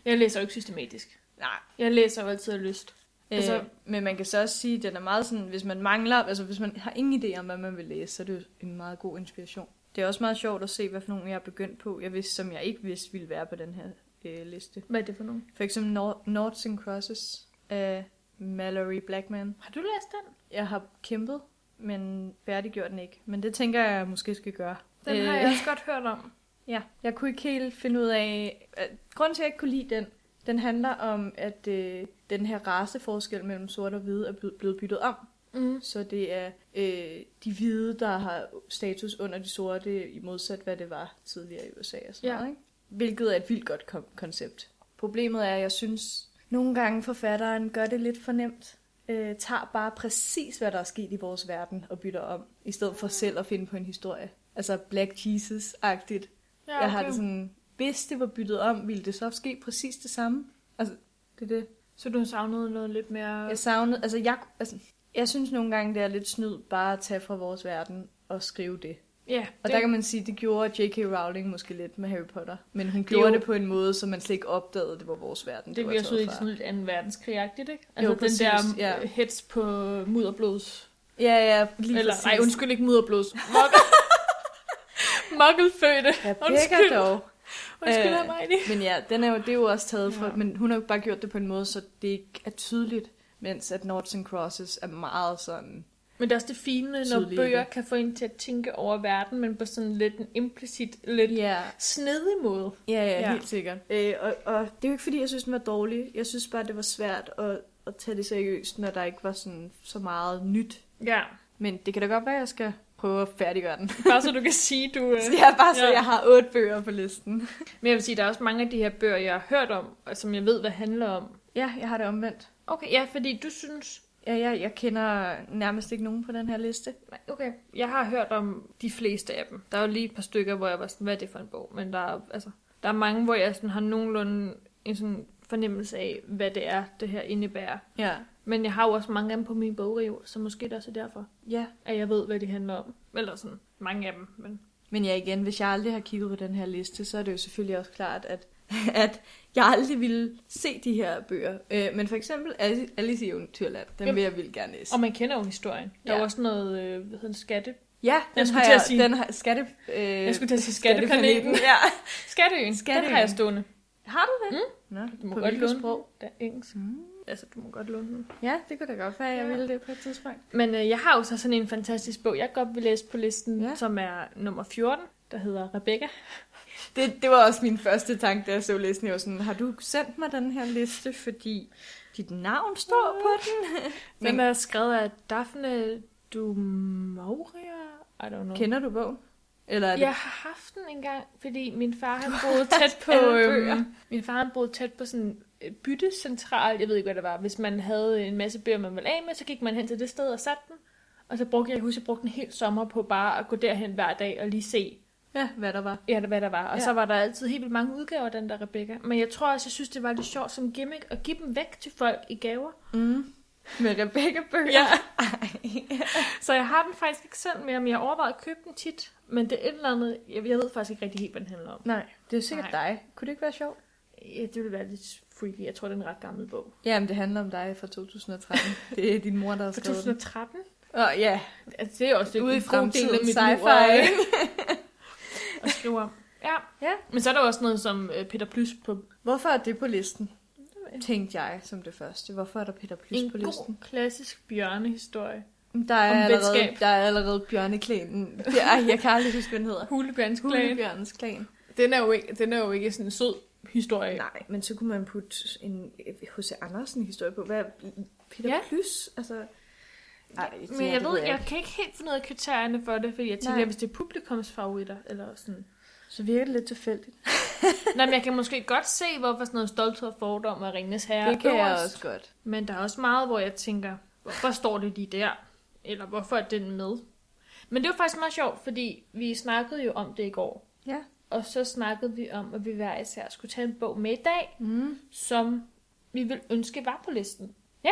[SPEAKER 2] jeg læser jo ikke systematisk.
[SPEAKER 1] Nej,
[SPEAKER 2] Jeg læser jo altid af lyst.
[SPEAKER 1] Altså, øh,
[SPEAKER 2] Altså-
[SPEAKER 1] men man kan så også sige, at den er meget sådan, hvis man mangler, altså hvis man har ingen idé om, hvad man vil læse, så er det jo en meget god inspiration. Det er også meget sjovt at se, hvad for nogle jeg er begyndt på, jeg vidste, som jeg ikke vidste ville være på den her øh, liste.
[SPEAKER 2] Hvad er det for nogen?
[SPEAKER 1] For eksempel Nor- Nords and Crosses af Mallory Blackman.
[SPEAKER 2] Har du læst den?
[SPEAKER 1] Jeg har kæmpet, men færdiggjort den ikke. Men det tænker jeg, jeg måske skal gøre.
[SPEAKER 2] Den øh. har
[SPEAKER 1] Øh,
[SPEAKER 2] jeg også godt hørt om.
[SPEAKER 1] Ja, jeg kunne ikke helt finde ud af... At, grunden til, at jeg ikke kunne lide den, den handler om, at øh, den her raceforskel mellem sort og hvide er blevet- blevet byttet om.
[SPEAKER 2] Mm.
[SPEAKER 1] Så det er øh, de hvide, der har status under de sorte, i modsat hvad det var tidligere i USA og sådan
[SPEAKER 2] Ja.
[SPEAKER 1] ja. noget, ikke? Hvilket er et vildt godt kom- koncept. Problemet er, at jeg synes, nogle gange forfatteren gør det lidt for nemt. Øh, tager bare præcis, hvad der er sket i vores verden og bytter om, i stedet for selv at finde på en historie. Altså Black Jesus-agtigt.
[SPEAKER 2] Ja,
[SPEAKER 1] Ja,
[SPEAKER 2] okay.
[SPEAKER 1] okay. Jeg har det sådan, hvis det var byttet om, ville det så ske præcis det samme? Altså, det er det.
[SPEAKER 2] Så du har savnet noget lidt mere...
[SPEAKER 1] Jeg savnede, altså jeg, altså jeg synes nogle gange, det er lidt snyd bare at tage fra vores verden og skrive det.
[SPEAKER 2] Ja,
[SPEAKER 1] Og
[SPEAKER 2] det,
[SPEAKER 1] der kan man sige, det gjorde J.K. Rowling måske lidt med Harry Potter. Men hun
[SPEAKER 2] er
[SPEAKER 1] gjorde
[SPEAKER 2] jo-
[SPEAKER 1] det på en måde, så man slet ikke opdagede, at det var vores verden.
[SPEAKER 2] det
[SPEAKER 1] var
[SPEAKER 2] bliver så
[SPEAKER 1] taget
[SPEAKER 2] ud i
[SPEAKER 1] fra.
[SPEAKER 2] sådan lidt anden verdenskrig-agtigt, ikke? Altså jo, den
[SPEAKER 1] præcis,
[SPEAKER 2] der
[SPEAKER 1] ja.
[SPEAKER 2] ja. hets på mudderblods.
[SPEAKER 1] Ja, ja, lige
[SPEAKER 2] Eller,
[SPEAKER 1] præcis.
[SPEAKER 2] nej, undskyld ikke mudderblods. Muggle- Muggelfødte.
[SPEAKER 1] Jeg
[SPEAKER 2] Undskyld.
[SPEAKER 1] pækker dog.
[SPEAKER 2] Undskyld,
[SPEAKER 1] Øh,
[SPEAKER 2] øh, Hermione.
[SPEAKER 1] Men ja, den er jo, det er jo også taget fra,
[SPEAKER 2] Ja.
[SPEAKER 1] ja. men hun har jo bare gjort det på en måde, så det ikke er tydeligt, mens at Noughts and Crosses er meget sådan,
[SPEAKER 2] Men det er også det fine, når
[SPEAKER 1] Tydelige.
[SPEAKER 2] bøger kan få en til at tænke over verden, men på sådan lidt en implicit, lidt
[SPEAKER 1] ja,
[SPEAKER 2] snedig måde.
[SPEAKER 1] ja, ja,
[SPEAKER 2] Ja.
[SPEAKER 1] ja. helt sikkert. Øh, og, og det er jo ikke fordi, jeg synes, den var dårlig. Jeg synes bare, det var svært at, at tage det seriøst, når der ikke var sådan så meget nyt.
[SPEAKER 2] Ja,
[SPEAKER 1] Men det kan da godt være, at jeg skal prøve at færdiggøre den.
[SPEAKER 2] bare så du kan sige, du... øh,
[SPEAKER 1] Så jeg bare så,
[SPEAKER 2] Ja.
[SPEAKER 1] ja. jeg har otte bøger på listen.
[SPEAKER 2] Men jeg vil sige, der er også mange af de her bøger, jeg har hørt om, og som jeg ved, hvad handler om.
[SPEAKER 1] Ja, jeg har det omvendt.
[SPEAKER 2] Okay, ja, fordi du synes...
[SPEAKER 1] Ja, ja, jeg kender nærmest ikke nogen på den her liste.
[SPEAKER 2] Nej, Okay, jeg har hørt om de fleste af dem. Der er jo lige et par stykker, hvor jeg var sådan, hvad er det for en bog? Men der er, altså, der er mange, hvor jeg sådan har nogenlunde en sådan fornemmelse af, hvad det er, det her indebærer.
[SPEAKER 1] Ja.
[SPEAKER 2] Men jeg har jo også mange af dem på min bogreol, så måske det også er derfor,
[SPEAKER 1] Ja,
[SPEAKER 2] at jeg ved, hvad de handler om. Eller sådan mange af dem, men...
[SPEAKER 1] Men ja, igen, hvis jeg aldrig har kigget på den her liste, så er det jo selvfølgelig også klart, at, at jeg aldrig ville se de her bøger. Øh, men for eksempel Alice Alice i Eventyrland, den
[SPEAKER 2] Jamen.
[SPEAKER 1] vil jeg vildt gerne læse.
[SPEAKER 2] Og man kender jo historien. Der er
[SPEAKER 1] Ja.
[SPEAKER 2] jo også noget, øh, hvad hedder den, skatte...
[SPEAKER 1] Ja, den
[SPEAKER 2] skulle
[SPEAKER 1] har
[SPEAKER 2] til at
[SPEAKER 1] jeg,
[SPEAKER 2] sige-
[SPEAKER 1] den har, skatte, øh,
[SPEAKER 2] Jeg skulle til at sige skatteplaneten.
[SPEAKER 1] Ja.
[SPEAKER 2] Skatteøen, Skatteøen.
[SPEAKER 1] Skatteøen.
[SPEAKER 2] den har jeg stående.
[SPEAKER 1] Har du det? Mm. Nå,
[SPEAKER 2] Du må
[SPEAKER 1] på
[SPEAKER 2] godt
[SPEAKER 1] hvilket sprog?
[SPEAKER 2] låne sprog? Den er engelsk.
[SPEAKER 1] Mm.
[SPEAKER 2] Altså, du må godt låne den.
[SPEAKER 1] Ja, det kunne da godt være, at jeg
[SPEAKER 2] Ja.
[SPEAKER 1] ville det på et tidspunkt.
[SPEAKER 2] Men øh, jeg har jo så sådan en fantastisk bog, jeg godt vil læse på listen, ja.
[SPEAKER 1] Ja.
[SPEAKER 2] som er nummer 14, der hedder Rebecca.
[SPEAKER 1] Det, det var også min første tanke, da jeg så listen. Jeg var sådan, har du sendt mig den her liste, fordi dit navn står på den?
[SPEAKER 2] Den
[SPEAKER 1] Men-
[SPEAKER 2] er skrevet af Daphne du Mauria? I don't know.
[SPEAKER 1] Mm. Kender du bogen? Eller er det...
[SPEAKER 2] Jeg har haft den engang, fordi min far han boede tæt på
[SPEAKER 1] Alle bøger.
[SPEAKER 2] øhm, min far han boede tæt på sådan øh, byttecentral, jeg ved ikke hvad det var. Hvis man havde en masse bøger man ville af med, så gik man hen til det sted og satte den. Og så brugte jeg, jeg husker, jeg brugte en hel sommer på bare at gå derhen hver dag og lige se,
[SPEAKER 1] ja, hvad der var.
[SPEAKER 2] Ja, det hvad der var. Og ja.
[SPEAKER 1] Ja.
[SPEAKER 2] så var der altid helt vildt mange udgaver af den der Rebecca. Men jeg tror også, jeg synes, det var lidt sjovt som gimmick at give dem væk til folk i gaver.
[SPEAKER 1] Mm. Med Rebecca-bøger.
[SPEAKER 2] Ja. så jeg har den faktisk ikke selv mere, men jeg overvejede at købe den tit. Men det er et eller andet, jeg, jeg ved faktisk ikke rigtig helt, hvad den handler om.
[SPEAKER 1] Nej, det er jo sikkert
[SPEAKER 2] Nej.
[SPEAKER 1] Nej. dig. Kunne det ikke være sjovt?
[SPEAKER 2] Ja, det ville være lidt freaky. Jeg tror, det er en ret gammel bog.
[SPEAKER 1] Jamen, det handler om dig fra 2013. det er din mor, der har
[SPEAKER 2] Fra
[SPEAKER 1] skrevet den.
[SPEAKER 2] 2013?
[SPEAKER 1] Åh, ja.
[SPEAKER 2] Altså, det er også
[SPEAKER 1] Ude i
[SPEAKER 2] en god
[SPEAKER 1] fremtiden,
[SPEAKER 2] del af mit liv
[SPEAKER 1] sci-fi,
[SPEAKER 2] at-
[SPEAKER 1] ikke?
[SPEAKER 2] at skrive om. Ja.
[SPEAKER 1] Ja.
[SPEAKER 2] men så er der også noget som øh, Peter Plys på
[SPEAKER 1] Hvorfor er det på listen? Tænkte jeg som det første. Hvorfor er der Peter Plys
[SPEAKER 2] en
[SPEAKER 1] på
[SPEAKER 2] god
[SPEAKER 1] listen?
[SPEAKER 2] klassisk bjørnehistorie.
[SPEAKER 1] Der er,
[SPEAKER 2] Om
[SPEAKER 1] allerede,
[SPEAKER 2] venskab.
[SPEAKER 1] der er allerede bjørneklæden. Ja, jeg kan aldrig huske, hvad den hedder.
[SPEAKER 2] Hulebjørnsklæn.
[SPEAKER 1] Hulebjørnens klan.
[SPEAKER 2] Den er jo ikke, den er jo ikke sådan en sød historie.
[SPEAKER 1] Nej, men så kunne man putte en H.C. Andersen-historie på. Hvad Peter
[SPEAKER 2] Ja.
[SPEAKER 1] Plys? Altså... Ej, det
[SPEAKER 2] Men jeg
[SPEAKER 1] det
[SPEAKER 2] ved, jeg, kan ikke helt finde ud af kriterierne for det, fordi jeg tænker,
[SPEAKER 1] Nej.
[SPEAKER 2] hvis det er publikums favoritter, eller sådan.
[SPEAKER 1] Så virker det lidt tilfældigt.
[SPEAKER 2] Nej, men jeg kan måske godt se, hvorfor sådan noget stolthed og fordom og Ringenes Herre
[SPEAKER 1] det kan
[SPEAKER 2] er
[SPEAKER 1] jeg
[SPEAKER 2] øverst.
[SPEAKER 1] også godt.
[SPEAKER 2] Men der er også meget, hvor jeg tænker, hvorfor står det lige der? Eller hvorfor er den med? Men det var faktisk meget sjovt, fordi vi snakkede jo om det i går.
[SPEAKER 1] Ja.
[SPEAKER 2] Og så snakkede vi om, at vi hver især skulle tage en bog med i dag,
[SPEAKER 1] Mm.
[SPEAKER 2] som vi ville ønske var på listen.
[SPEAKER 1] Ja.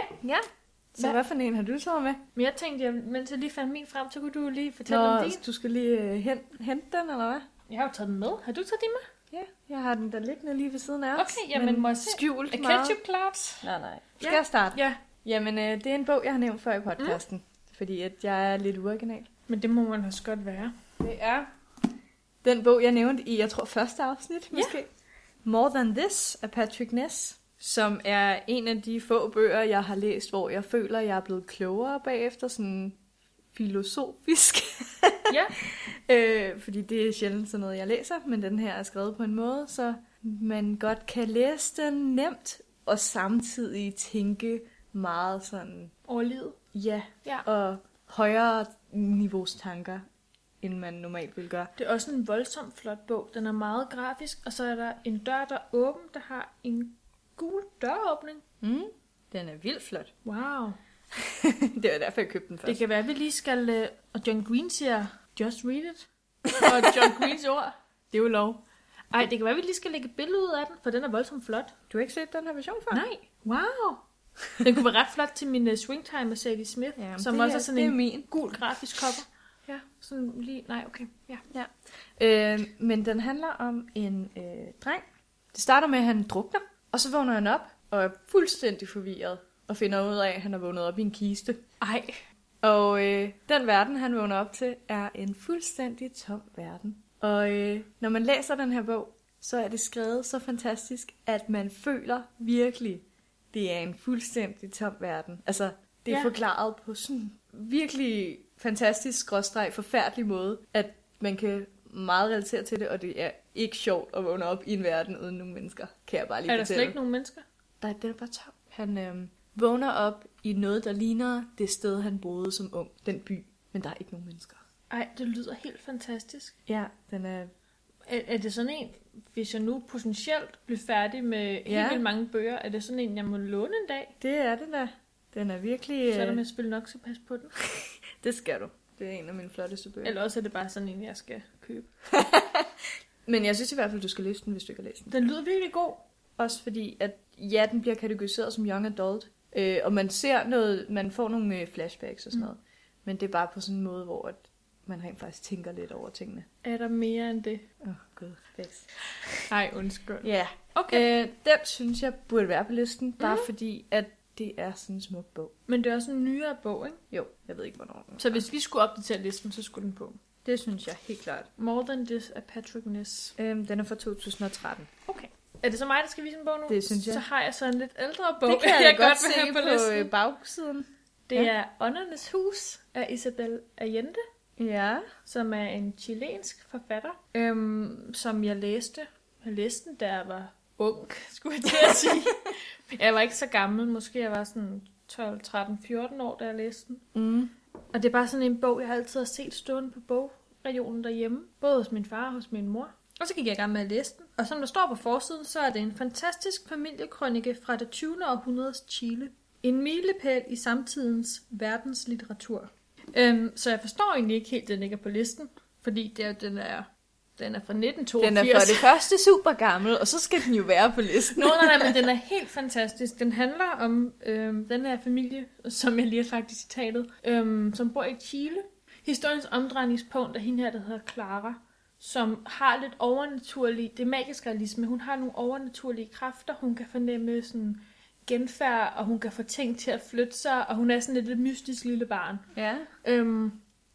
[SPEAKER 1] Så
[SPEAKER 2] Hvad-
[SPEAKER 1] hvad for en har du så med?
[SPEAKER 2] Men jeg tænkte, jeg, mens jeg lige fandt min frem, så kunne du lige fortælle om din.
[SPEAKER 1] så du skal lige øh, hen, hente den, eller hvad?
[SPEAKER 2] Jeg har jo taget den med. Har du taget din med?
[SPEAKER 1] Ja, jeg har den der liggende lige ved siden af os.
[SPEAKER 2] Okay, jamen, må jeg se?
[SPEAKER 1] Skjult
[SPEAKER 2] Er
[SPEAKER 1] meget.
[SPEAKER 2] ketchup klart?
[SPEAKER 1] Nej, nej. Skal
[SPEAKER 2] Ja.
[SPEAKER 1] ja. jeg starte?
[SPEAKER 2] Ja.
[SPEAKER 1] Jamen, øh, det er en bog, jeg har nævnt før i podcasten. Mm. Fordi at jeg er lidt uoriginal.
[SPEAKER 2] Men det må man også godt være.
[SPEAKER 1] Det er den bog, jeg nævnte i, jeg tror, første afsnit måske. More Than This af Patrick Ness, som er en af de få bøger, jeg har læst, hvor jeg føler, jeg er blevet klogere bagefter, sådan filosofisk.
[SPEAKER 2] Ja.
[SPEAKER 1] øh, fordi det er sjældent sådan noget, jeg læser, men den her er skrevet på en måde, så man godt kan læse den nemt, og samtidig tænke meget sådan,
[SPEAKER 2] Over livet.
[SPEAKER 1] ja,
[SPEAKER 2] Ja.
[SPEAKER 1] og højere niveaus tanker, end man normalt vil gøre.
[SPEAKER 2] Det er også en voldsomt flot bog. Den er meget grafisk, og så er der en dør, der er åben, der har en gul døråbning.
[SPEAKER 1] Mm. Den er vildt flot.
[SPEAKER 2] Wow.
[SPEAKER 1] det var derfor, jeg købte den
[SPEAKER 2] Det
[SPEAKER 1] først.
[SPEAKER 2] kan være, at vi lige skal... øh, Og John Green siger, just read it. Og John Greens ord, det er jo lov. Ej, det kan være, at vi lige skal lægge et billede ud af den, for den er voldsomt flot.
[SPEAKER 1] Du har ikke set den her version før?
[SPEAKER 2] Nej, wow. Den kunne være ret flot til min uh, øh, Swingtime af Sadie Smith,
[SPEAKER 1] Jamen,
[SPEAKER 2] som
[SPEAKER 1] det
[SPEAKER 2] også
[SPEAKER 1] er-
[SPEAKER 2] er sådan
[SPEAKER 1] det er
[SPEAKER 2] en
[SPEAKER 1] min.
[SPEAKER 2] gul grafisk cover. Ja, sådan lige... Nej, okay. Ja.
[SPEAKER 1] Øh, men den handler om en øh, dreng. Det starter med, at han drukner, og så vågner han op og er fuldstændig forvirret og finder ud af, at han er vågnet op i en kiste.
[SPEAKER 2] Ej.
[SPEAKER 1] Og øh, den verden, han vågner op til, er en fuldstændig tom verden. Og øh, når man læser den her bog, så er det skrevet så fantastisk, at man føler virkelig, det er en fuldstændig tom verden. Altså, det er
[SPEAKER 2] Ja.
[SPEAKER 1] ja. forklaret på sådan en virkelig fantastisk, skråstreg, forfærdelig måde, at man kan meget relatere til det, og det er ikke sjovt at vågne op i en verden uden nogle mennesker, kan jeg bare lige
[SPEAKER 2] Er der
[SPEAKER 1] fortælle.
[SPEAKER 2] slet ikke nogen mennesker?
[SPEAKER 1] Nej, den er bare tom. Han øh, vågner op i noget, der ligner det sted, han boede som ung. Den by. Men der er ikke nogen mennesker.
[SPEAKER 2] Ej, det lyder helt fantastisk.
[SPEAKER 1] Ja, den er...
[SPEAKER 2] Er, er det sådan en, hvis jeg nu potentielt bliver færdig med ja.
[SPEAKER 1] Ja.
[SPEAKER 2] helt vildt mange bøger, er det sådan en, jeg må låne en dag?
[SPEAKER 1] Det er den der. Den er virkelig...
[SPEAKER 2] Yeah. Så er der
[SPEAKER 1] Øh,
[SPEAKER 2] med at spille nok så pas på den.
[SPEAKER 1] det skal du. Det er en af mine flotteste bøger.
[SPEAKER 2] Eller også er det bare sådan en, jeg skal købe.
[SPEAKER 1] Men jeg synes i hvert fald, du skal læse den, hvis du ikke har læst den.
[SPEAKER 2] Den lyder virkelig god.
[SPEAKER 1] Også fordi, at ja, den bliver kategoriseret som young adult. Øh, og man ser noget... Man får nogle øh, flashbacks og sådan
[SPEAKER 2] Mm.
[SPEAKER 1] noget. Men det er bare på sådan en måde, hvor at man rent faktisk tænker lidt over tingene.
[SPEAKER 2] Er der mere end det?
[SPEAKER 1] Åh, oh, gud. Vækst.
[SPEAKER 2] Nej, undskyld.
[SPEAKER 1] Ja. Yeah.
[SPEAKER 2] Okay. Øh.
[SPEAKER 1] Øh, den synes jeg burde være på listen, bare
[SPEAKER 2] Mhm.
[SPEAKER 1] mm. fordi, at det er sådan en smuk bog.
[SPEAKER 2] Men det er også en nyere bog, ikke?
[SPEAKER 1] Jo, jeg ved ikke, hvornår den
[SPEAKER 2] Så hvis vi skulle opdatere listen, så skulle den på.
[SPEAKER 1] Det synes jeg helt klart.
[SPEAKER 2] More Than This af Patrick Ness.
[SPEAKER 1] Øhm, den er fra 2013.
[SPEAKER 2] Okay. Er det så mig, der skal vise en bog nu?
[SPEAKER 1] Det synes jeg.
[SPEAKER 2] Så har jeg så en lidt ældre bog,
[SPEAKER 1] det kan jeg,
[SPEAKER 2] jeg
[SPEAKER 1] godt,
[SPEAKER 2] vil have
[SPEAKER 1] se på, på øh, bagsiden.
[SPEAKER 2] Det
[SPEAKER 1] Ja.
[SPEAKER 2] er Åndernes Hus af Isabel Allende,
[SPEAKER 1] Ja.
[SPEAKER 2] som er en chilensk forfatter, øhm, som jeg læste. Jeg læste den, da jeg var ung, skulle jeg til at sige. jeg var ikke så gammel, måske jeg var sådan 12, 13, 14 år, da jeg læste den.
[SPEAKER 1] Mm.
[SPEAKER 2] Og det er bare sådan en bog, jeg altid har set stående på bogregionen derhjemme. Både hos min far og hos min mor. Og så gik jeg i gang med at læse den. Og som der står på forsiden, så er det en fantastisk familiekrønike fra det 20. århundredes Chile. En milepæl i samtidens verdenslitteratur. Øhm, så jeg forstår egentlig ikke helt, at den ligger på listen. Fordi det er, jo- den, er, den er fra 1982.
[SPEAKER 1] Den er for det første super gammel, og så skal den jo være på listen.
[SPEAKER 2] Nå, nej, nej, men den er helt fantastisk. Den handler om øhm, den her familie, som jeg lige har sagt i citatet, øhm, som bor i Chile. Historiens omdrejningspunkt er hende her, der hedder Clara, som har lidt overnaturlig, det er magisk realisme, hun har nogle overnaturlige kræfter, hun kan fornemme sådan genfærd, og hun kan få ting til at flytte sig, og hun er sådan lidt et mystisk lille barn.
[SPEAKER 1] Ja.
[SPEAKER 2] Øhm,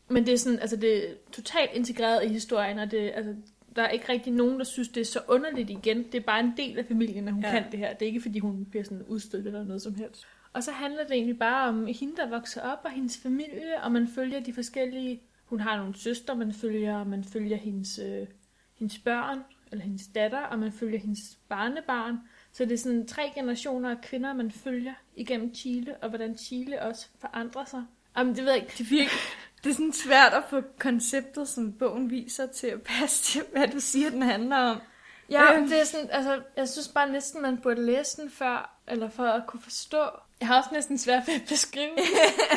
[SPEAKER 2] men det er sådan, altså det er totalt integreret i historien, og det, altså, der er ikke rigtig nogen, der synes, det er så underligt igen. Det er bare en del af familien, at hun ja.
[SPEAKER 1] Ja.
[SPEAKER 2] kan det her. Det er ikke, fordi hun bliver sådan udstødt eller noget som helst. Og så handler det egentlig bare om hende, der vokser op, og hendes familie, og man følger de forskellige... Hun har nogle søstre, man følger, og man følger hendes, øh, hendes børn, eller hendes datter, og man følger hendes barnebarn. Så det er sådan tre generationer af kvinder, man følger igennem Chile, og hvordan Chile også forandrer sig. Jamen, det ved jeg ikke.
[SPEAKER 1] Det, virker, det er sådan svært at få konceptet, som bogen viser, til at passe til, hvad du siger, den handler om.
[SPEAKER 2] Ja,
[SPEAKER 1] Øhm.
[SPEAKER 2] det er sådan, altså, jeg synes bare næsten, man burde læse den før, eller for at kunne forstå. Jeg har også næsten svært ved at beskrive den.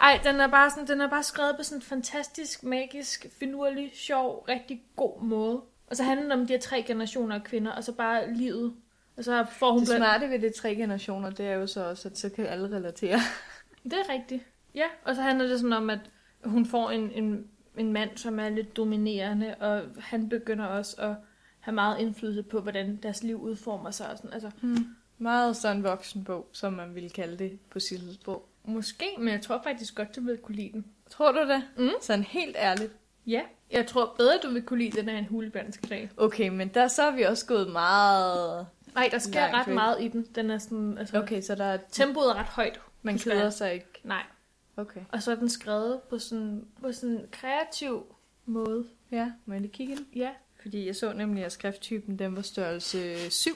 [SPEAKER 2] Ej, den er bare sådan, den er bare skrevet på sådan en fantastisk, magisk, finurlig, sjov, rigtig god måde. Og så handler det om de her tre generationer af kvinder, og så bare livet. Og så får hun
[SPEAKER 1] Det
[SPEAKER 2] blandt...
[SPEAKER 1] smarte ved det tre generationer, det er jo så også, at så kan alle relatere.
[SPEAKER 2] Det er rigtigt. Ja, og så handler det sådan om, at hun får en, en, en mand, som er lidt dominerende, og han begynder også at have meget indflydelse på, hvordan deres liv udformer sig. Og sådan. Altså,
[SPEAKER 1] Mm. Meget sådan voksen bog, som man ville kalde det på sit sprog.
[SPEAKER 2] Måske, men jeg tror faktisk godt, du vil kunne lide den.
[SPEAKER 1] Tror du det?
[SPEAKER 2] Mm.
[SPEAKER 1] Sådan helt ærligt.
[SPEAKER 2] Ja, jeg tror bedre, du vil kunne lide den af en hulebjørnsklag.
[SPEAKER 1] Okay, men der så er vi også gået meget...
[SPEAKER 2] Nej, der sker
[SPEAKER 1] Langt
[SPEAKER 2] ret
[SPEAKER 1] væk.
[SPEAKER 2] meget i den. Den er sådan, altså, okay.
[SPEAKER 1] Okay, så der er...
[SPEAKER 2] tempoet er ret højt.
[SPEAKER 1] man keder sig ikke.
[SPEAKER 2] Nej.
[SPEAKER 1] Okay.
[SPEAKER 2] Og så er den skrevet på sådan, på sådan en kreativ måde.
[SPEAKER 1] Ja, må jeg lige kigge ind?
[SPEAKER 2] Ja,
[SPEAKER 1] Fordi jeg så nemlig, at skrifttypen den var størrelse 7.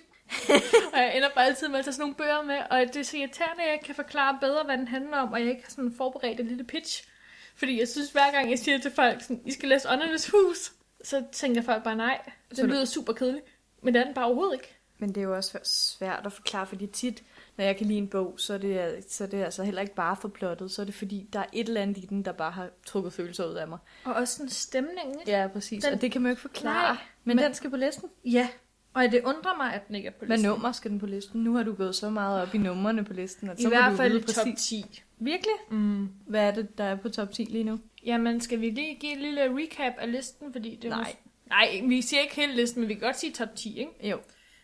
[SPEAKER 2] og jeg ender bare altid med at tage sådan nogle bøger med, og det er så irriterende, at jeg ikke kan forklare bedre, hvad den handler om, og jeg ikke har sådan forberedt en lille pitch. Fordi jeg synes, hver gang jeg siger til folk, sådan, I skal læse Åndernes Hus, så tænker folk bare, nej, det
[SPEAKER 1] Så du-
[SPEAKER 2] lyder super kedeligt. Men det er den bare overhovedet ikke.
[SPEAKER 1] Men det er jo også svært at forklare, fordi tit, når jeg kan lide en bog, så er det, så er det altså heller ikke bare for plottet. Så er det fordi, der er et eller andet i den, der bare har trukket følelser ud af mig.
[SPEAKER 2] Og også sådan stemningen, ikke?
[SPEAKER 1] Ja, præcis.
[SPEAKER 2] Den-
[SPEAKER 1] Den... Og det kan man jo ikke forklare.
[SPEAKER 2] Nej,
[SPEAKER 1] men,
[SPEAKER 2] men-
[SPEAKER 1] men den skal på listen.
[SPEAKER 2] Ja, og det undrer mig, at den ikke er på
[SPEAKER 1] Hvad
[SPEAKER 2] listen.
[SPEAKER 1] nummer skal den på listen? Nu har du gået så meget op i numrene på listen, at så
[SPEAKER 2] I
[SPEAKER 1] må
[SPEAKER 2] hvert
[SPEAKER 1] du
[SPEAKER 2] fald
[SPEAKER 1] vide
[SPEAKER 2] i top
[SPEAKER 1] præcis.
[SPEAKER 2] 10.
[SPEAKER 1] Virkelig?
[SPEAKER 2] Mm.
[SPEAKER 1] Hvad er det, der er på top 10 lige nu?
[SPEAKER 2] Jamen, skal vi lige give et lille recap af listen? Fordi det
[SPEAKER 1] Nej.
[SPEAKER 2] Var... Nej, vi siger ikke hele listen, men vi kan godt sige top 10, ikke?
[SPEAKER 1] Jo.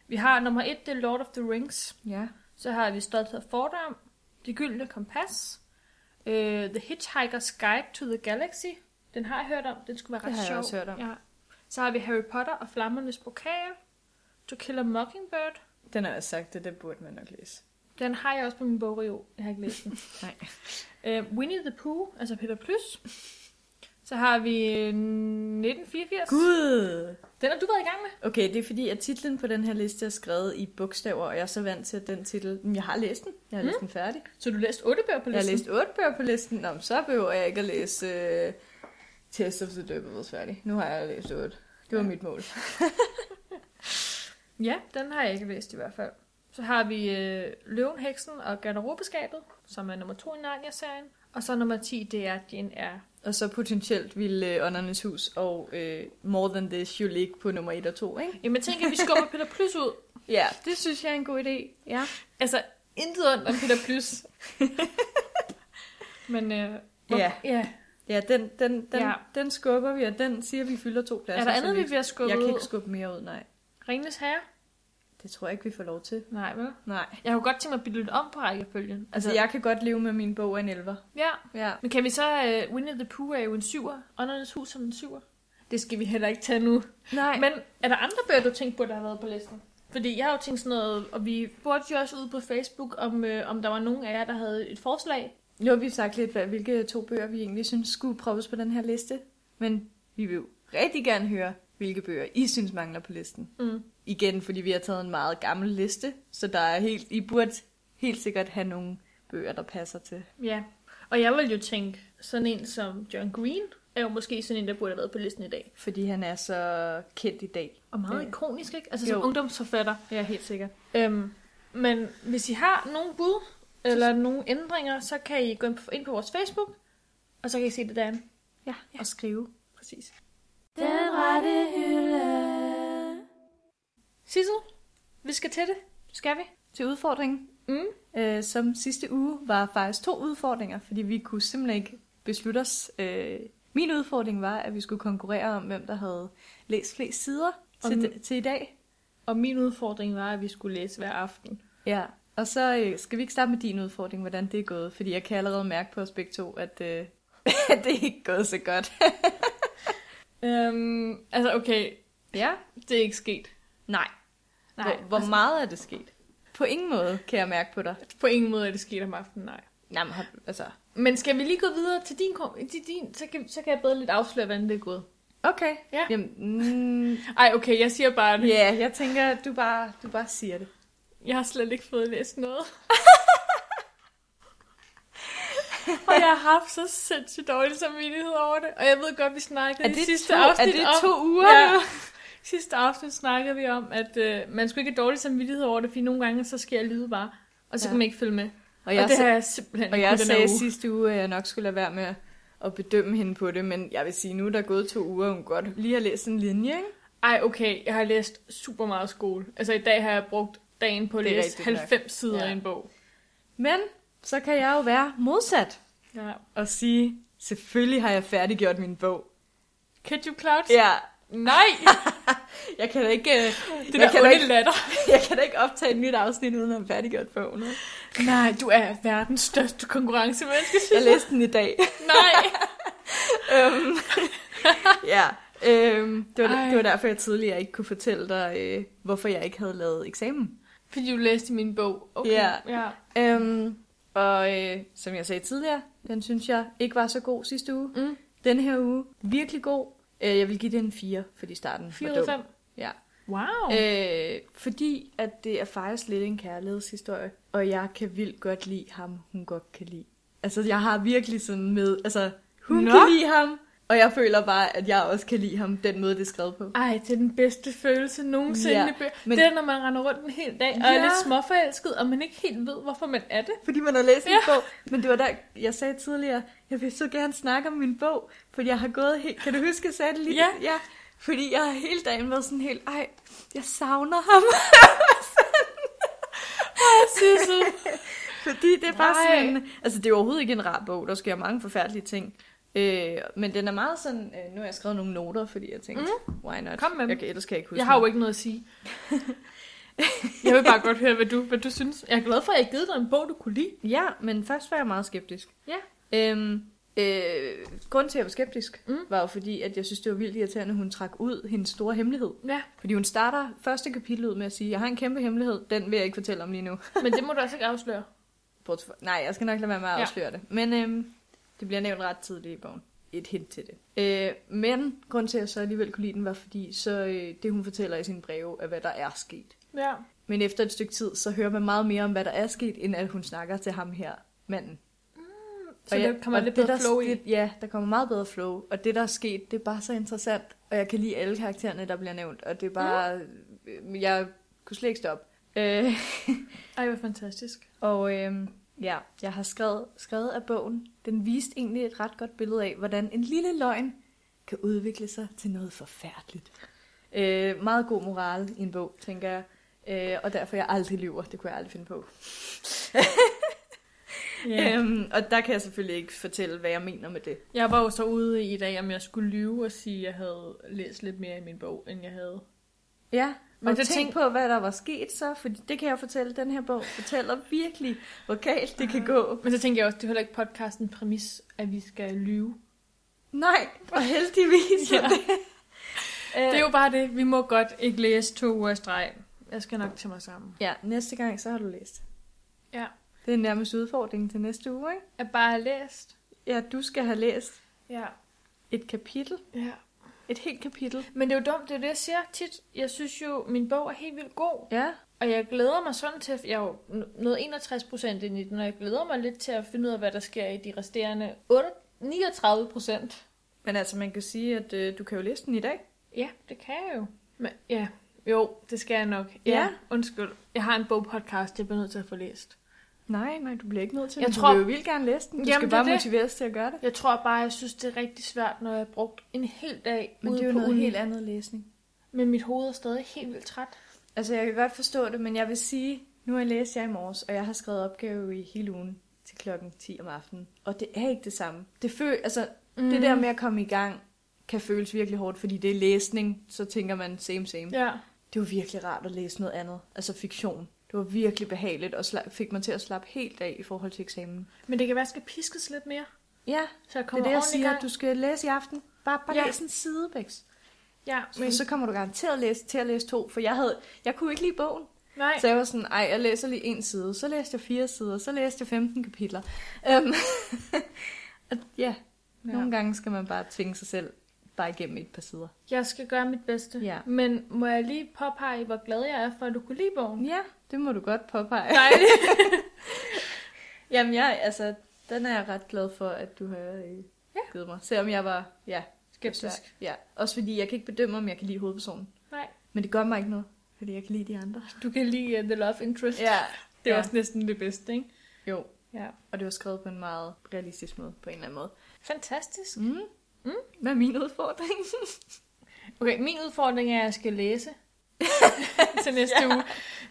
[SPEAKER 2] Vi har nummer 1, det er Lord of the Rings.
[SPEAKER 1] Ja.
[SPEAKER 2] Så har vi Stolthed og Fordom, Det Gyldne Kompas, uh, The Hitchhiker's Guide to the Galaxy. Den har jeg hørt om, den skulle være
[SPEAKER 1] Det
[SPEAKER 2] ret
[SPEAKER 1] har jeg
[SPEAKER 2] sjov.
[SPEAKER 1] også hørt om.
[SPEAKER 2] Ja. Så har vi Harry Potter og Flammernes Pokal, To Kill a Mockingbird.
[SPEAKER 1] Den har jeg sagt, det, det burde man nok læse.
[SPEAKER 2] Den har jeg også på min bogreol. Jeg har ikke læst den.
[SPEAKER 1] Nej.
[SPEAKER 2] Uh, Winnie the Pooh, altså Peter Plys. Så har vi øh, 1984.
[SPEAKER 1] Gud!
[SPEAKER 2] Den har du været i gang med.
[SPEAKER 1] Okay, det er fordi, at titlen på den her liste er skrevet i bogstaver, og jeg er så vant til, at den titel... Men jeg har læst den. Jeg Mm. har læst den færdig.
[SPEAKER 2] Så du læste otte bøger på
[SPEAKER 1] Jeg har
[SPEAKER 2] listen.
[SPEAKER 1] læst otte bøger på listen. Nå, men så behøver jeg ikke at læse uh, Test of the Døbeveds færdig. Nu har jeg læst otte. Det var
[SPEAKER 2] Ja.
[SPEAKER 1] mit mål.
[SPEAKER 2] Ja, den har jeg ikke læst i hvert fald. Så har vi øh, Løven, Heksen og Garderobeskabet, som er nummer to i Narnia-serien. Og så nummer 10, det er Jane Eyre.
[SPEAKER 1] Og så potentielt ville øh, Åndernes Hus og øh, More Than This jo ligge på nummer 1 og 2, ikke?
[SPEAKER 2] Jamen tænk, at vi skubber Peter Plys ud.
[SPEAKER 1] Ja, det synes jeg er en god idé. Ja.
[SPEAKER 2] Altså, intet ondt om Peter Plys. Men øh, hvor-
[SPEAKER 1] Ja.
[SPEAKER 2] ja.
[SPEAKER 1] Ja, den, den, den,
[SPEAKER 2] Ja.
[SPEAKER 1] ja. den skubber vi, og den siger, vi fylder to pladser.
[SPEAKER 2] Er der
[SPEAKER 1] så
[SPEAKER 2] andet, vi bliver
[SPEAKER 1] Jeg
[SPEAKER 2] skubbet
[SPEAKER 1] kan
[SPEAKER 2] ud?
[SPEAKER 1] ikke skubbe mere ud, nej.
[SPEAKER 2] Ringenes Herre?
[SPEAKER 1] Det tror jeg ikke, vi får lov til.
[SPEAKER 2] Nej, vel?
[SPEAKER 1] Nej.
[SPEAKER 2] Jeg kunne godt tænke mig at bytte lidt om på rækkefølgen.
[SPEAKER 1] Altså, jeg kan godt leve med min bog af en elver.
[SPEAKER 2] Ja,
[SPEAKER 1] Ja.
[SPEAKER 2] men kan vi så... Øh, Winnie the Pooh er jo en syver. Åndernes Hus er en syver. Det skal vi heller ikke tage nu.
[SPEAKER 1] Nej. Men,
[SPEAKER 2] Men er der andre bøger, du tænkte på, der har været på listen? Fordi jeg har jo tænkt sådan noget, og vi spurgte jo også ude på Facebook, om, øh, om der var nogen af jer, der havde et forslag.
[SPEAKER 1] nu har vi sagt lidt, hvad, hvilke to bøger vi egentlig synes skulle proppes på den her liste. Men vi vil jo rigtig gerne høre, hvilke bøger I synes mangler på listen.
[SPEAKER 2] Mm.
[SPEAKER 1] Igen, fordi vi har taget en meget gammel liste, så der er helt, I burde helt sikkert have nogle bøger, der passer til.
[SPEAKER 2] Ja, og jeg ville jo tænke, sådan en som John Green er jo måske sådan en, der burde have været på listen i dag.
[SPEAKER 1] Fordi han er så kendt i dag.
[SPEAKER 2] Og meget
[SPEAKER 1] Ja.
[SPEAKER 2] ikonisk, ikke? Altså
[SPEAKER 1] Jo.
[SPEAKER 2] som ungdomsforfatter.
[SPEAKER 1] Ja, helt sikkert.
[SPEAKER 2] Øhm, men hvis I har nogle bud, eller nogle ændringer, så kan I gå ind på, ind på vores Facebook, og så kan I se det derinde.
[SPEAKER 1] Ja, ja. og skrive.
[SPEAKER 2] Præcis.
[SPEAKER 3] Den rette hylde.
[SPEAKER 2] Sissel, vi skal til det. Skal vi?
[SPEAKER 1] Til udfordringen,
[SPEAKER 2] Mm.
[SPEAKER 1] øh, som sidste uge var faktisk to udfordringer, fordi vi kunne simpelthen ikke beslutte os. Øh, min udfordring var, at vi skulle konkurrere om, hvem der havde læst flest sider
[SPEAKER 2] Om-
[SPEAKER 1] til, d- til i dag.
[SPEAKER 2] Og min udfordring var, at vi skulle læse hver aften.
[SPEAKER 1] Ja, og så øh, skal vi ikke starte med din udfordring, hvordan det er gået, fordi jeg kan allerede mærke på os begge to, at øh, det er ikke gået så godt.
[SPEAKER 2] Øhm, altså, okay,
[SPEAKER 1] Ja,
[SPEAKER 2] det er ikke sket.
[SPEAKER 1] nej.
[SPEAKER 2] Nej,
[SPEAKER 1] hvor, hvor
[SPEAKER 2] altså,
[SPEAKER 1] meget er det sket? På ingen måde kan jeg mærke på dig.
[SPEAKER 2] på ingen måde er det sket om aftenen, nej.
[SPEAKER 1] Nej, men har- altså...
[SPEAKER 2] Men skal vi lige gå videre til din, kom- til din så, kan, så kan jeg bedre lidt afsløre, hvordan det er gået.
[SPEAKER 1] Okay.
[SPEAKER 2] Ja.
[SPEAKER 1] Jamen, mm,
[SPEAKER 2] Ej, okay, jeg siger bare det.
[SPEAKER 1] ja, jeg tænker, du bare, du bare siger det.
[SPEAKER 2] Jeg har slet ikke fået læst noget. og jeg har haft så sindssygt dårlig samvittighed over det. Og jeg ved godt, vi snakkede i sidste
[SPEAKER 1] to,
[SPEAKER 2] afsnit
[SPEAKER 1] er det
[SPEAKER 2] om...
[SPEAKER 1] to uger?
[SPEAKER 2] Ja. Sidste aften snakkede vi om, at øh, man skulle ikke have dårlig samvittighed over det, fordi nogle gange så sker lyde bare, og så ja.
[SPEAKER 1] Ja.
[SPEAKER 2] kan man ikke følge med.
[SPEAKER 1] Og
[SPEAKER 2] Og,
[SPEAKER 1] jeg,
[SPEAKER 2] og det har jeg simpelthen
[SPEAKER 1] og
[SPEAKER 2] ikke
[SPEAKER 1] jeg
[SPEAKER 2] kunnet den her
[SPEAKER 1] sagde
[SPEAKER 2] uge.
[SPEAKER 1] sidste uge, at jeg nok skulle lade være med at bedømme hende på det, men jeg vil sige, nu er der gået to uger, hun godt lige har læst en linje, ikke?
[SPEAKER 2] Ej, okay, jeg har læst super meget skole. Altså i dag har jeg brugt dagen på at
[SPEAKER 1] Det er
[SPEAKER 2] læse
[SPEAKER 1] rigtigt nok.
[SPEAKER 2] 90 sider
[SPEAKER 1] Ja.
[SPEAKER 2] i en bog.
[SPEAKER 1] Men så kan jeg jo være modsat
[SPEAKER 2] Ja.
[SPEAKER 1] og sige, selvfølgelig har jeg færdiggjort min bog.
[SPEAKER 2] Could you cloud?
[SPEAKER 1] Ja,
[SPEAKER 2] Nej,
[SPEAKER 1] jeg kan da ikke, øh,
[SPEAKER 2] det
[SPEAKER 1] jeg
[SPEAKER 2] der
[SPEAKER 1] kan da
[SPEAKER 2] onde
[SPEAKER 1] ikke-
[SPEAKER 2] latter.
[SPEAKER 1] jeg kan da ikke optage et nyt afsnit, uden at have færdiggjort bogen. ikke?
[SPEAKER 2] Nej, du er verdens største konkurrencemenneske, synes
[SPEAKER 1] Jeg læste den i dag.
[SPEAKER 2] Nej.
[SPEAKER 1] øhm, ja, øhm, det, var,
[SPEAKER 2] Ej.
[SPEAKER 1] det var derfor, jeg tidligere ikke kunne fortælle dig, øh, hvorfor jeg ikke havde lavet eksamen.
[SPEAKER 2] Fordi du læste min bog. Okay.
[SPEAKER 1] Ja.
[SPEAKER 2] ja.
[SPEAKER 1] Øhm, og øh, som jeg sagde tidligere, den synes jeg ikke var så god sidste uge.
[SPEAKER 2] Mm.
[SPEAKER 1] Den her uge, virkelig god. Øh, jeg vil give den en 4, fordi starten
[SPEAKER 2] 4
[SPEAKER 1] var
[SPEAKER 2] ud af
[SPEAKER 1] dum.
[SPEAKER 2] 5.
[SPEAKER 1] Ja.
[SPEAKER 2] Wow.
[SPEAKER 1] Øh, fordi at det er faktisk lidt en kærlighedshistorie, og jeg kan vildt godt lide ham, hun godt kan lide. Altså, jeg har virkelig sådan med, altså, hun
[SPEAKER 2] Nå.
[SPEAKER 1] Nå. kan lide ham, og jeg føler bare, at jeg også kan lide ham, den måde, det er skrevet på.
[SPEAKER 2] Ej, det er den bedste følelse nogensinde.
[SPEAKER 1] Ja,
[SPEAKER 2] Ja, men...
[SPEAKER 1] men-
[SPEAKER 2] Det er, når man render rundt en hel dag og ja. er
[SPEAKER 1] Ja.
[SPEAKER 2] lidt småforelsket, og man ikke helt ved, hvorfor man er det.
[SPEAKER 1] Fordi man har læst en
[SPEAKER 2] Ja.
[SPEAKER 1] bog. Men det var der, jeg sagde tidligere, jeg vil så gerne snakke om min bog, fordi jeg har gået helt... Kan du huske, jeg sagde det lige?
[SPEAKER 2] Ja.
[SPEAKER 1] ja. Fordi jeg har hele dagen været sådan helt, ej, jeg savner ham.
[SPEAKER 2] Sissel.
[SPEAKER 1] Fordi det er bare
[SPEAKER 2] Nej.
[SPEAKER 1] sådan... Altså, det er overhovedet ikke en rar bog. Der sker mange forfærdelige ting. Øh, men den er meget sådan, øh, nu har jeg skrevet nogle noter, fordi jeg tænkte, mm. why not?
[SPEAKER 2] Mhm. Kom med dem.
[SPEAKER 1] jeg kan, ellers kan jeg ikke huske
[SPEAKER 2] Jeg har jo ikke noget at sige. jeg vil bare godt høre, hvad du, hvad du synes. Jeg er glad for, at jeg har givet dig en bog, du kunne lide.
[SPEAKER 1] noget. Ja, men først var jeg meget skeptisk.
[SPEAKER 2] Ja.
[SPEAKER 1] Øhm, øh, grunden til, at jeg var skeptisk,
[SPEAKER 2] Mm.
[SPEAKER 1] mm. var jo fordi, at jeg synes, det var vildt irriterende, at hun trak ud hendes store hemmelighed.
[SPEAKER 2] Ja,
[SPEAKER 1] Fordi hun starter første kapitel ud med at sige, jeg har en kæmpe hemmelighed, den vil jeg ikke fortælle om lige nu.
[SPEAKER 2] men det må du altså ikke afsløre.
[SPEAKER 1] Bortset fra- Nej, jeg skal nok lade være med at
[SPEAKER 2] Ja.
[SPEAKER 1] afsløre det. Men øhm, det bliver nævnt ret tidligt i bogen. Et hint til det. Øh, men grund til, at jeg så alligevel kunne lide den, var fordi så, øh, det, hun fortæller i sin breve, er, hvad der er sket.
[SPEAKER 2] Ja.
[SPEAKER 1] Men efter et stykke tid, så hører man meget mere om, hvad der er sket, end at hun snakker til ham her, manden.
[SPEAKER 2] Så
[SPEAKER 1] Og jeg-
[SPEAKER 2] det kommer
[SPEAKER 1] og
[SPEAKER 2] lidt bedre
[SPEAKER 1] der,
[SPEAKER 2] flow i.
[SPEAKER 1] det, Ja, der kommer meget bedre flow. Og det, der er sket, det er bare så interessant. Og jeg kan lide alle karaktererne, der bliver nævnt. Og det er bare... Mm. Jeg kunne slet ikke stoppe. Øh,
[SPEAKER 2] Ej, hvor fantastisk.
[SPEAKER 1] og øh, ja, jeg har skrevet, skrevet af bogen. Den viste egentlig et ret godt billede af, hvordan en lille løgn kan udvikle sig til noget forfærdeligt. Øh, meget god moral i en bog, tænker jeg. Øh, og derfor jeg aldrig lyver. Det kunne jeg aldrig finde på. Yeah. Øhm, og der kan jeg selvfølgelig ikke fortælle, hvad jeg mener med det.
[SPEAKER 2] Jeg var jo så ude i i dag, om jeg skulle lyve og sige, at jeg havde læst lidt mere i min bog, end jeg havde.
[SPEAKER 1] Ja,
[SPEAKER 2] Men
[SPEAKER 1] men og
[SPEAKER 2] det
[SPEAKER 1] tænk
[SPEAKER 2] tænk-
[SPEAKER 1] på, hvad der var sket så, for det kan jeg fortælle, den her bog fortæller virkelig, hvor galt det kan gå.
[SPEAKER 2] Men så tænkte jeg også, det er heller ikke podcasten præmis, at vi skal lyve.
[SPEAKER 1] Nej, og heldigvis. Øh,
[SPEAKER 2] Ja.
[SPEAKER 1] ja. det.
[SPEAKER 2] Det er jo bare det, vi må godt ikke læse to uger i streg. Jeg skal nok til mig sammen.
[SPEAKER 1] ja, næste gang, så har du læst.
[SPEAKER 2] Ja.
[SPEAKER 1] Det er nærmest udfordringen til næste uge, ikke?
[SPEAKER 2] At bare have læst.
[SPEAKER 1] Ja, du skal have læst
[SPEAKER 2] Ja.
[SPEAKER 1] et kapitel,
[SPEAKER 2] ja.
[SPEAKER 1] et helt kapitel.
[SPEAKER 2] Men det er jo dumt, det er jo det, jeg siger tit. Jeg synes jo, min bog er helt vildt god.
[SPEAKER 1] Ja,
[SPEAKER 2] Og jeg glæder mig sådan til, jeg er jo nået 61 procent ind i den, og jeg glæder mig lidt til at finde ud af, hvad der sker i de resterende 8, 39 procent.
[SPEAKER 1] men altså, man kan sige, at øh, du kan jo læse den i dag.
[SPEAKER 2] Ja, det kan jeg jo. Men, ja, jo, det skal jeg nok. Ja,
[SPEAKER 1] Ja.
[SPEAKER 2] undskyld. Jeg har en bogpodcast, jeg bliver nødt til at få læst.
[SPEAKER 1] Nej, nej, du bliver ikke nødt til
[SPEAKER 2] Jeg
[SPEAKER 1] det.
[SPEAKER 2] tror-
[SPEAKER 1] Du vil jo vildt gerne læse den. Du
[SPEAKER 2] Jamen,
[SPEAKER 1] skal
[SPEAKER 2] det er
[SPEAKER 1] bare
[SPEAKER 2] det.
[SPEAKER 1] motiveres til at gøre det.
[SPEAKER 2] Jeg tror bare, jeg synes, det er rigtig svært, når jeg har brugt en hel dag
[SPEAKER 1] Men
[SPEAKER 2] ude
[SPEAKER 1] det er jo
[SPEAKER 2] på
[SPEAKER 1] noget
[SPEAKER 2] uni.
[SPEAKER 1] helt andet læsning.
[SPEAKER 2] Men mit hoved er stadig helt vildt træt.
[SPEAKER 1] Altså, jeg kan godt forstå det, men jeg vil sige, nu har jeg læst jeg i morges, og jeg har skrevet opgave i hele ugen til klokken 10 om aftenen. Og det er ikke det samme. Det, føl, altså, mm.
[SPEAKER 2] Mhm.
[SPEAKER 1] det der med at komme i gang, kan føles virkelig hårdt, fordi det er læsning, så tænker man same same. Ja.
[SPEAKER 2] Mm. Ja.
[SPEAKER 1] Det var virkelig rart at læse noget andet, altså fiktion. Det var virkelig behageligt, og sla- fik mig til at slappe helt af i forhold til eksamen.
[SPEAKER 2] Men det kan være, at jeg skal piskes lidt mere,
[SPEAKER 1] Ja,
[SPEAKER 2] så jeg
[SPEAKER 1] det er
[SPEAKER 2] kommer
[SPEAKER 1] det, jeg
[SPEAKER 2] ordentligt i
[SPEAKER 1] siger,
[SPEAKER 2] gang.
[SPEAKER 1] at du skal læse i aften. Bare, bare
[SPEAKER 2] Ja.
[SPEAKER 1] ja. læs en sidebæks.
[SPEAKER 2] Ja,
[SPEAKER 1] Men
[SPEAKER 2] men...
[SPEAKER 1] så kommer du garanteret læse, til at læse to, for jeg, havde, jeg kunne ikke lide bogen.
[SPEAKER 2] Nej.
[SPEAKER 1] Så jeg var sådan, ej, jeg læser lige en side, så læste jeg fire sider, så læste jeg 15 kapitler. Øhm, og ja, ja, nogle gange skal man bare tvinge sig selv bare igennem et par sider.
[SPEAKER 2] Jeg skal gøre mit bedste.
[SPEAKER 1] Ja.
[SPEAKER 2] Men må jeg lige påpege, hvor glad jeg er for, at du kunne lide bogen?
[SPEAKER 1] Ja, det må du godt påpege.
[SPEAKER 2] Dejligt.
[SPEAKER 1] Jamen, jeg, altså, den er jeg ret glad for, at du har øh,
[SPEAKER 2] Ja.
[SPEAKER 1] givet mig. Selvom jeg var, ja, altså,
[SPEAKER 2] Skeptisk.
[SPEAKER 1] Ja, også fordi jeg kan ikke bedømme, om jeg kan lide hovedpersonen.
[SPEAKER 2] Nej.
[SPEAKER 1] Men det gør mig ikke noget, fordi jeg kan lide de andre.
[SPEAKER 2] Du kan lide uh, The Love Interest.
[SPEAKER 1] Ja,
[SPEAKER 2] Det er
[SPEAKER 1] Ja.
[SPEAKER 2] også næsten det bedste, ikke?
[SPEAKER 1] jo.
[SPEAKER 2] Ja.
[SPEAKER 1] Og det var skrevet på en meget realistisk måde, på en eller anden måde.
[SPEAKER 2] Fantastisk.
[SPEAKER 1] Mm. Mm. Hvad er min udfordring?
[SPEAKER 2] Okay, min udfordring er, at jeg skal læse til næste ja. uge.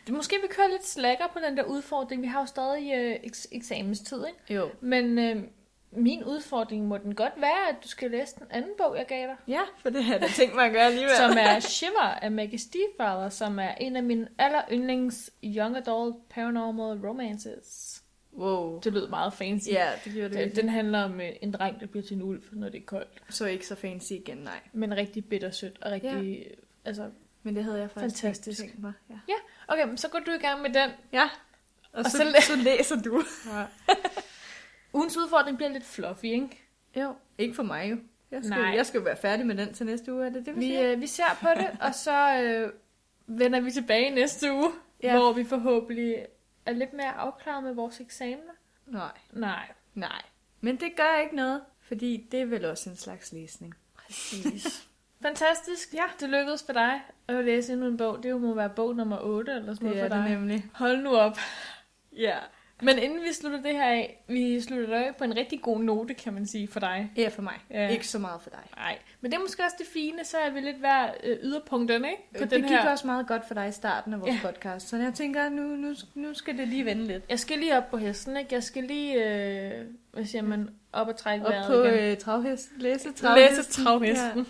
[SPEAKER 2] Det- Måske vi kører lidt slacker på den der udfordring. Vi har jo stadig øh, eks- eksamenstid, ikke?
[SPEAKER 1] jo.
[SPEAKER 2] Men øh, min udfordring må den godt være, at du skal læse den anden bog, jeg gav dig.
[SPEAKER 1] Ja, for det har jeg da tænkt mig at gøre alligevel.
[SPEAKER 2] som er Shiver af Maggie Stiefvater, som er en af mine aller yndlings young adult paranormal romances.
[SPEAKER 1] Wow.
[SPEAKER 2] Det lød meget fancy.
[SPEAKER 1] Ja, det gjorde det.
[SPEAKER 2] Den, den handler om øh, en dreng, der bliver til en ulv, når det er koldt.
[SPEAKER 1] Så ikke så fancy igen, nej.
[SPEAKER 2] Men rigtig bittersødt og rigtig... Ja. Altså,
[SPEAKER 1] Men det havde jeg faktisk
[SPEAKER 2] Fantastisk.
[SPEAKER 1] ikke tænkt mig. Ja.
[SPEAKER 2] okay, men så går du i gang med den.
[SPEAKER 1] ja. Og,
[SPEAKER 2] så-
[SPEAKER 1] så, så, læ- så læser du.
[SPEAKER 2] Ja. Ugens udfordring bliver lidt fluffy, ikke?
[SPEAKER 1] Jo, ikke for mig jo. Jeg skal,
[SPEAKER 2] Nej.
[SPEAKER 1] jeg skal jo være færdig med den til næste uge, er det det, vi,
[SPEAKER 2] Vi,
[SPEAKER 1] siger?
[SPEAKER 2] øh, vi ser på det, og så øh, vender vi tilbage næste uge, ja.
[SPEAKER 1] øh, Ja.
[SPEAKER 2] hvor vi forhåbentlig er lidt mere afklaret med vores eksamener.
[SPEAKER 1] Nej,
[SPEAKER 2] Nej,
[SPEAKER 1] nej. Men det gør ikke noget, fordi det er vel også en slags læsning.
[SPEAKER 2] Præcis. Fantastisk. Ja, det lykkedes for dig at læse endnu en bog. Det må være bog nummer 8 eller sådan noget for dig.
[SPEAKER 1] nemlig.
[SPEAKER 2] Hold nu op.
[SPEAKER 1] Ja.
[SPEAKER 2] Men inden vi slutter det her af, vi slutter det af på en rigtig god note, kan man sige, for dig.
[SPEAKER 1] Ja, for mig.
[SPEAKER 2] Ja.
[SPEAKER 1] Ja. Ikke så meget for dig.
[SPEAKER 2] Nej, men det er måske også det fine, så er vi lidt hver øh, yderpunkterne, ikke? På
[SPEAKER 1] Øh, det
[SPEAKER 2] den
[SPEAKER 1] gik
[SPEAKER 2] her.
[SPEAKER 1] også meget godt for dig i starten af vores ja. podcast, så jeg tænker, nu, nu, nu skal det lige vende lidt.
[SPEAKER 2] Jeg skal lige op på hesten, ikke? Jeg skal lige, øh, hvad siger man, op og trække
[SPEAKER 1] Mm. Op
[SPEAKER 2] vejret
[SPEAKER 1] på
[SPEAKER 2] igen.
[SPEAKER 1] øh, travhest. Læse travhesten.
[SPEAKER 2] Læse travhesten.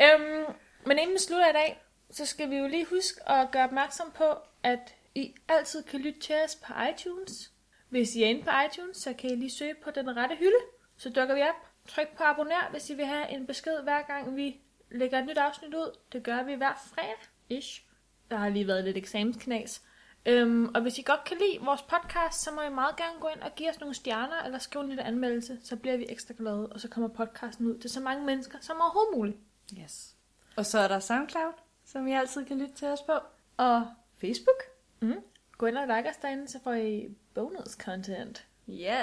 [SPEAKER 2] Ja. Øhm, men inden vi slutter i dag, så skal vi jo lige huske at gøre opmærksom på, at I altid kan lytte til os på iTunes. Hvis I er inde på iTunes, så kan I lige søge på den rette hylde. Så dukker vi op. Tryk på abonner, hvis I vil have en besked hver gang vi lægger et nyt afsnit ud. Det gør vi hver fredag. Ish. Der har lige været lidt eksamensknas. Øhm, og hvis I godt kan lide vores podcast, så må I meget gerne gå ind og give os nogle stjerner, eller skrive en lille anmeldelse, så bliver vi ekstra glade, og så kommer podcasten ud til så mange mennesker som overhovedet muligt.
[SPEAKER 1] Ja. Yes. Og så er der SoundCloud, som I altid kan lytte til os på. Og Facebook.
[SPEAKER 2] Mm. Gå ind og like os derinde, så får I bonus content.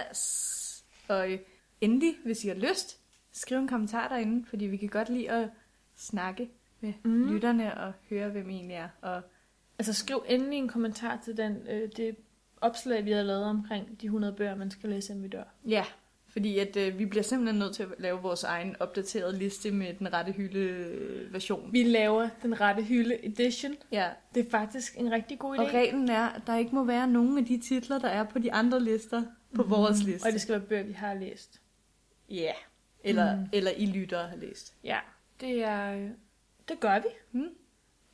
[SPEAKER 1] Yes. Og øh, endelig, hvis I har lyst, skriv en kommentar derinde, fordi vi kan godt lide at snakke med
[SPEAKER 2] Mm.
[SPEAKER 1] mm. lytterne og høre, hvem I egentlig er. Og
[SPEAKER 2] Altså skriv endelig en kommentar til den, øh, det opslag, vi har lavet omkring de 100 bøger, man skal læse, inden vi dør.
[SPEAKER 1] ja, fordi at øh, vi bliver simpelthen nødt til at lave vores egen opdaterede liste med den rette hylde øh, version.
[SPEAKER 2] Vi laver den rette hylde edition.
[SPEAKER 1] Ja,
[SPEAKER 2] Det er faktisk en rigtig god idé.
[SPEAKER 1] og reglen er, at der ikke må være nogen af de titler, der er på de andre lister på mm. vores liste.
[SPEAKER 2] Og det skal være bøger, vi har læst.
[SPEAKER 1] Ja, eller,
[SPEAKER 2] Mm.
[SPEAKER 1] mm. eller I lyttere har læst.
[SPEAKER 2] Ja, det er... øh, Det gør vi.
[SPEAKER 1] Mm.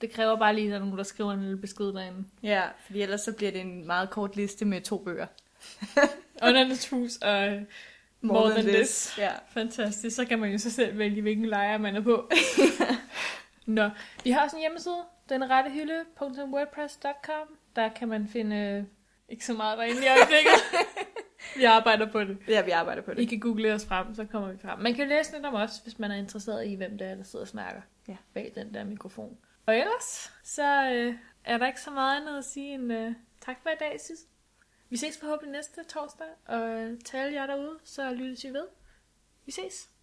[SPEAKER 2] Det kræver bare lige, at der er nogen, der skriver en lille besked derinde.
[SPEAKER 1] Ja, fordi ellers så bliver det en meget kort liste med to bøger.
[SPEAKER 2] Undernes hus og øh, More Than This.
[SPEAKER 1] Ja.
[SPEAKER 2] fantastisk. Så kan man jo så selv vælge, hvilken lejr man er på. Nå, vi har også en hjemmeside, denrettehylde.wordpress.com. Der kan man finde øh, ikke så meget derinde i øjeblikket. vi arbejder på det.
[SPEAKER 1] ja, vi arbejder på det.
[SPEAKER 2] I kan google os frem, så kommer vi frem. Man kan læse lidt om os, hvis man er interesseret i, hvem det er, der sidder og snakker
[SPEAKER 1] Ja.
[SPEAKER 2] bag den der mikrofon. Og ellers, så øh, er der ikke så meget andet at sige end øh, tak for i dag, Sis. Vi ses forhåbentlig næste torsdag, og øh, til alle jer derude, så lyttes I ved. Vi ses.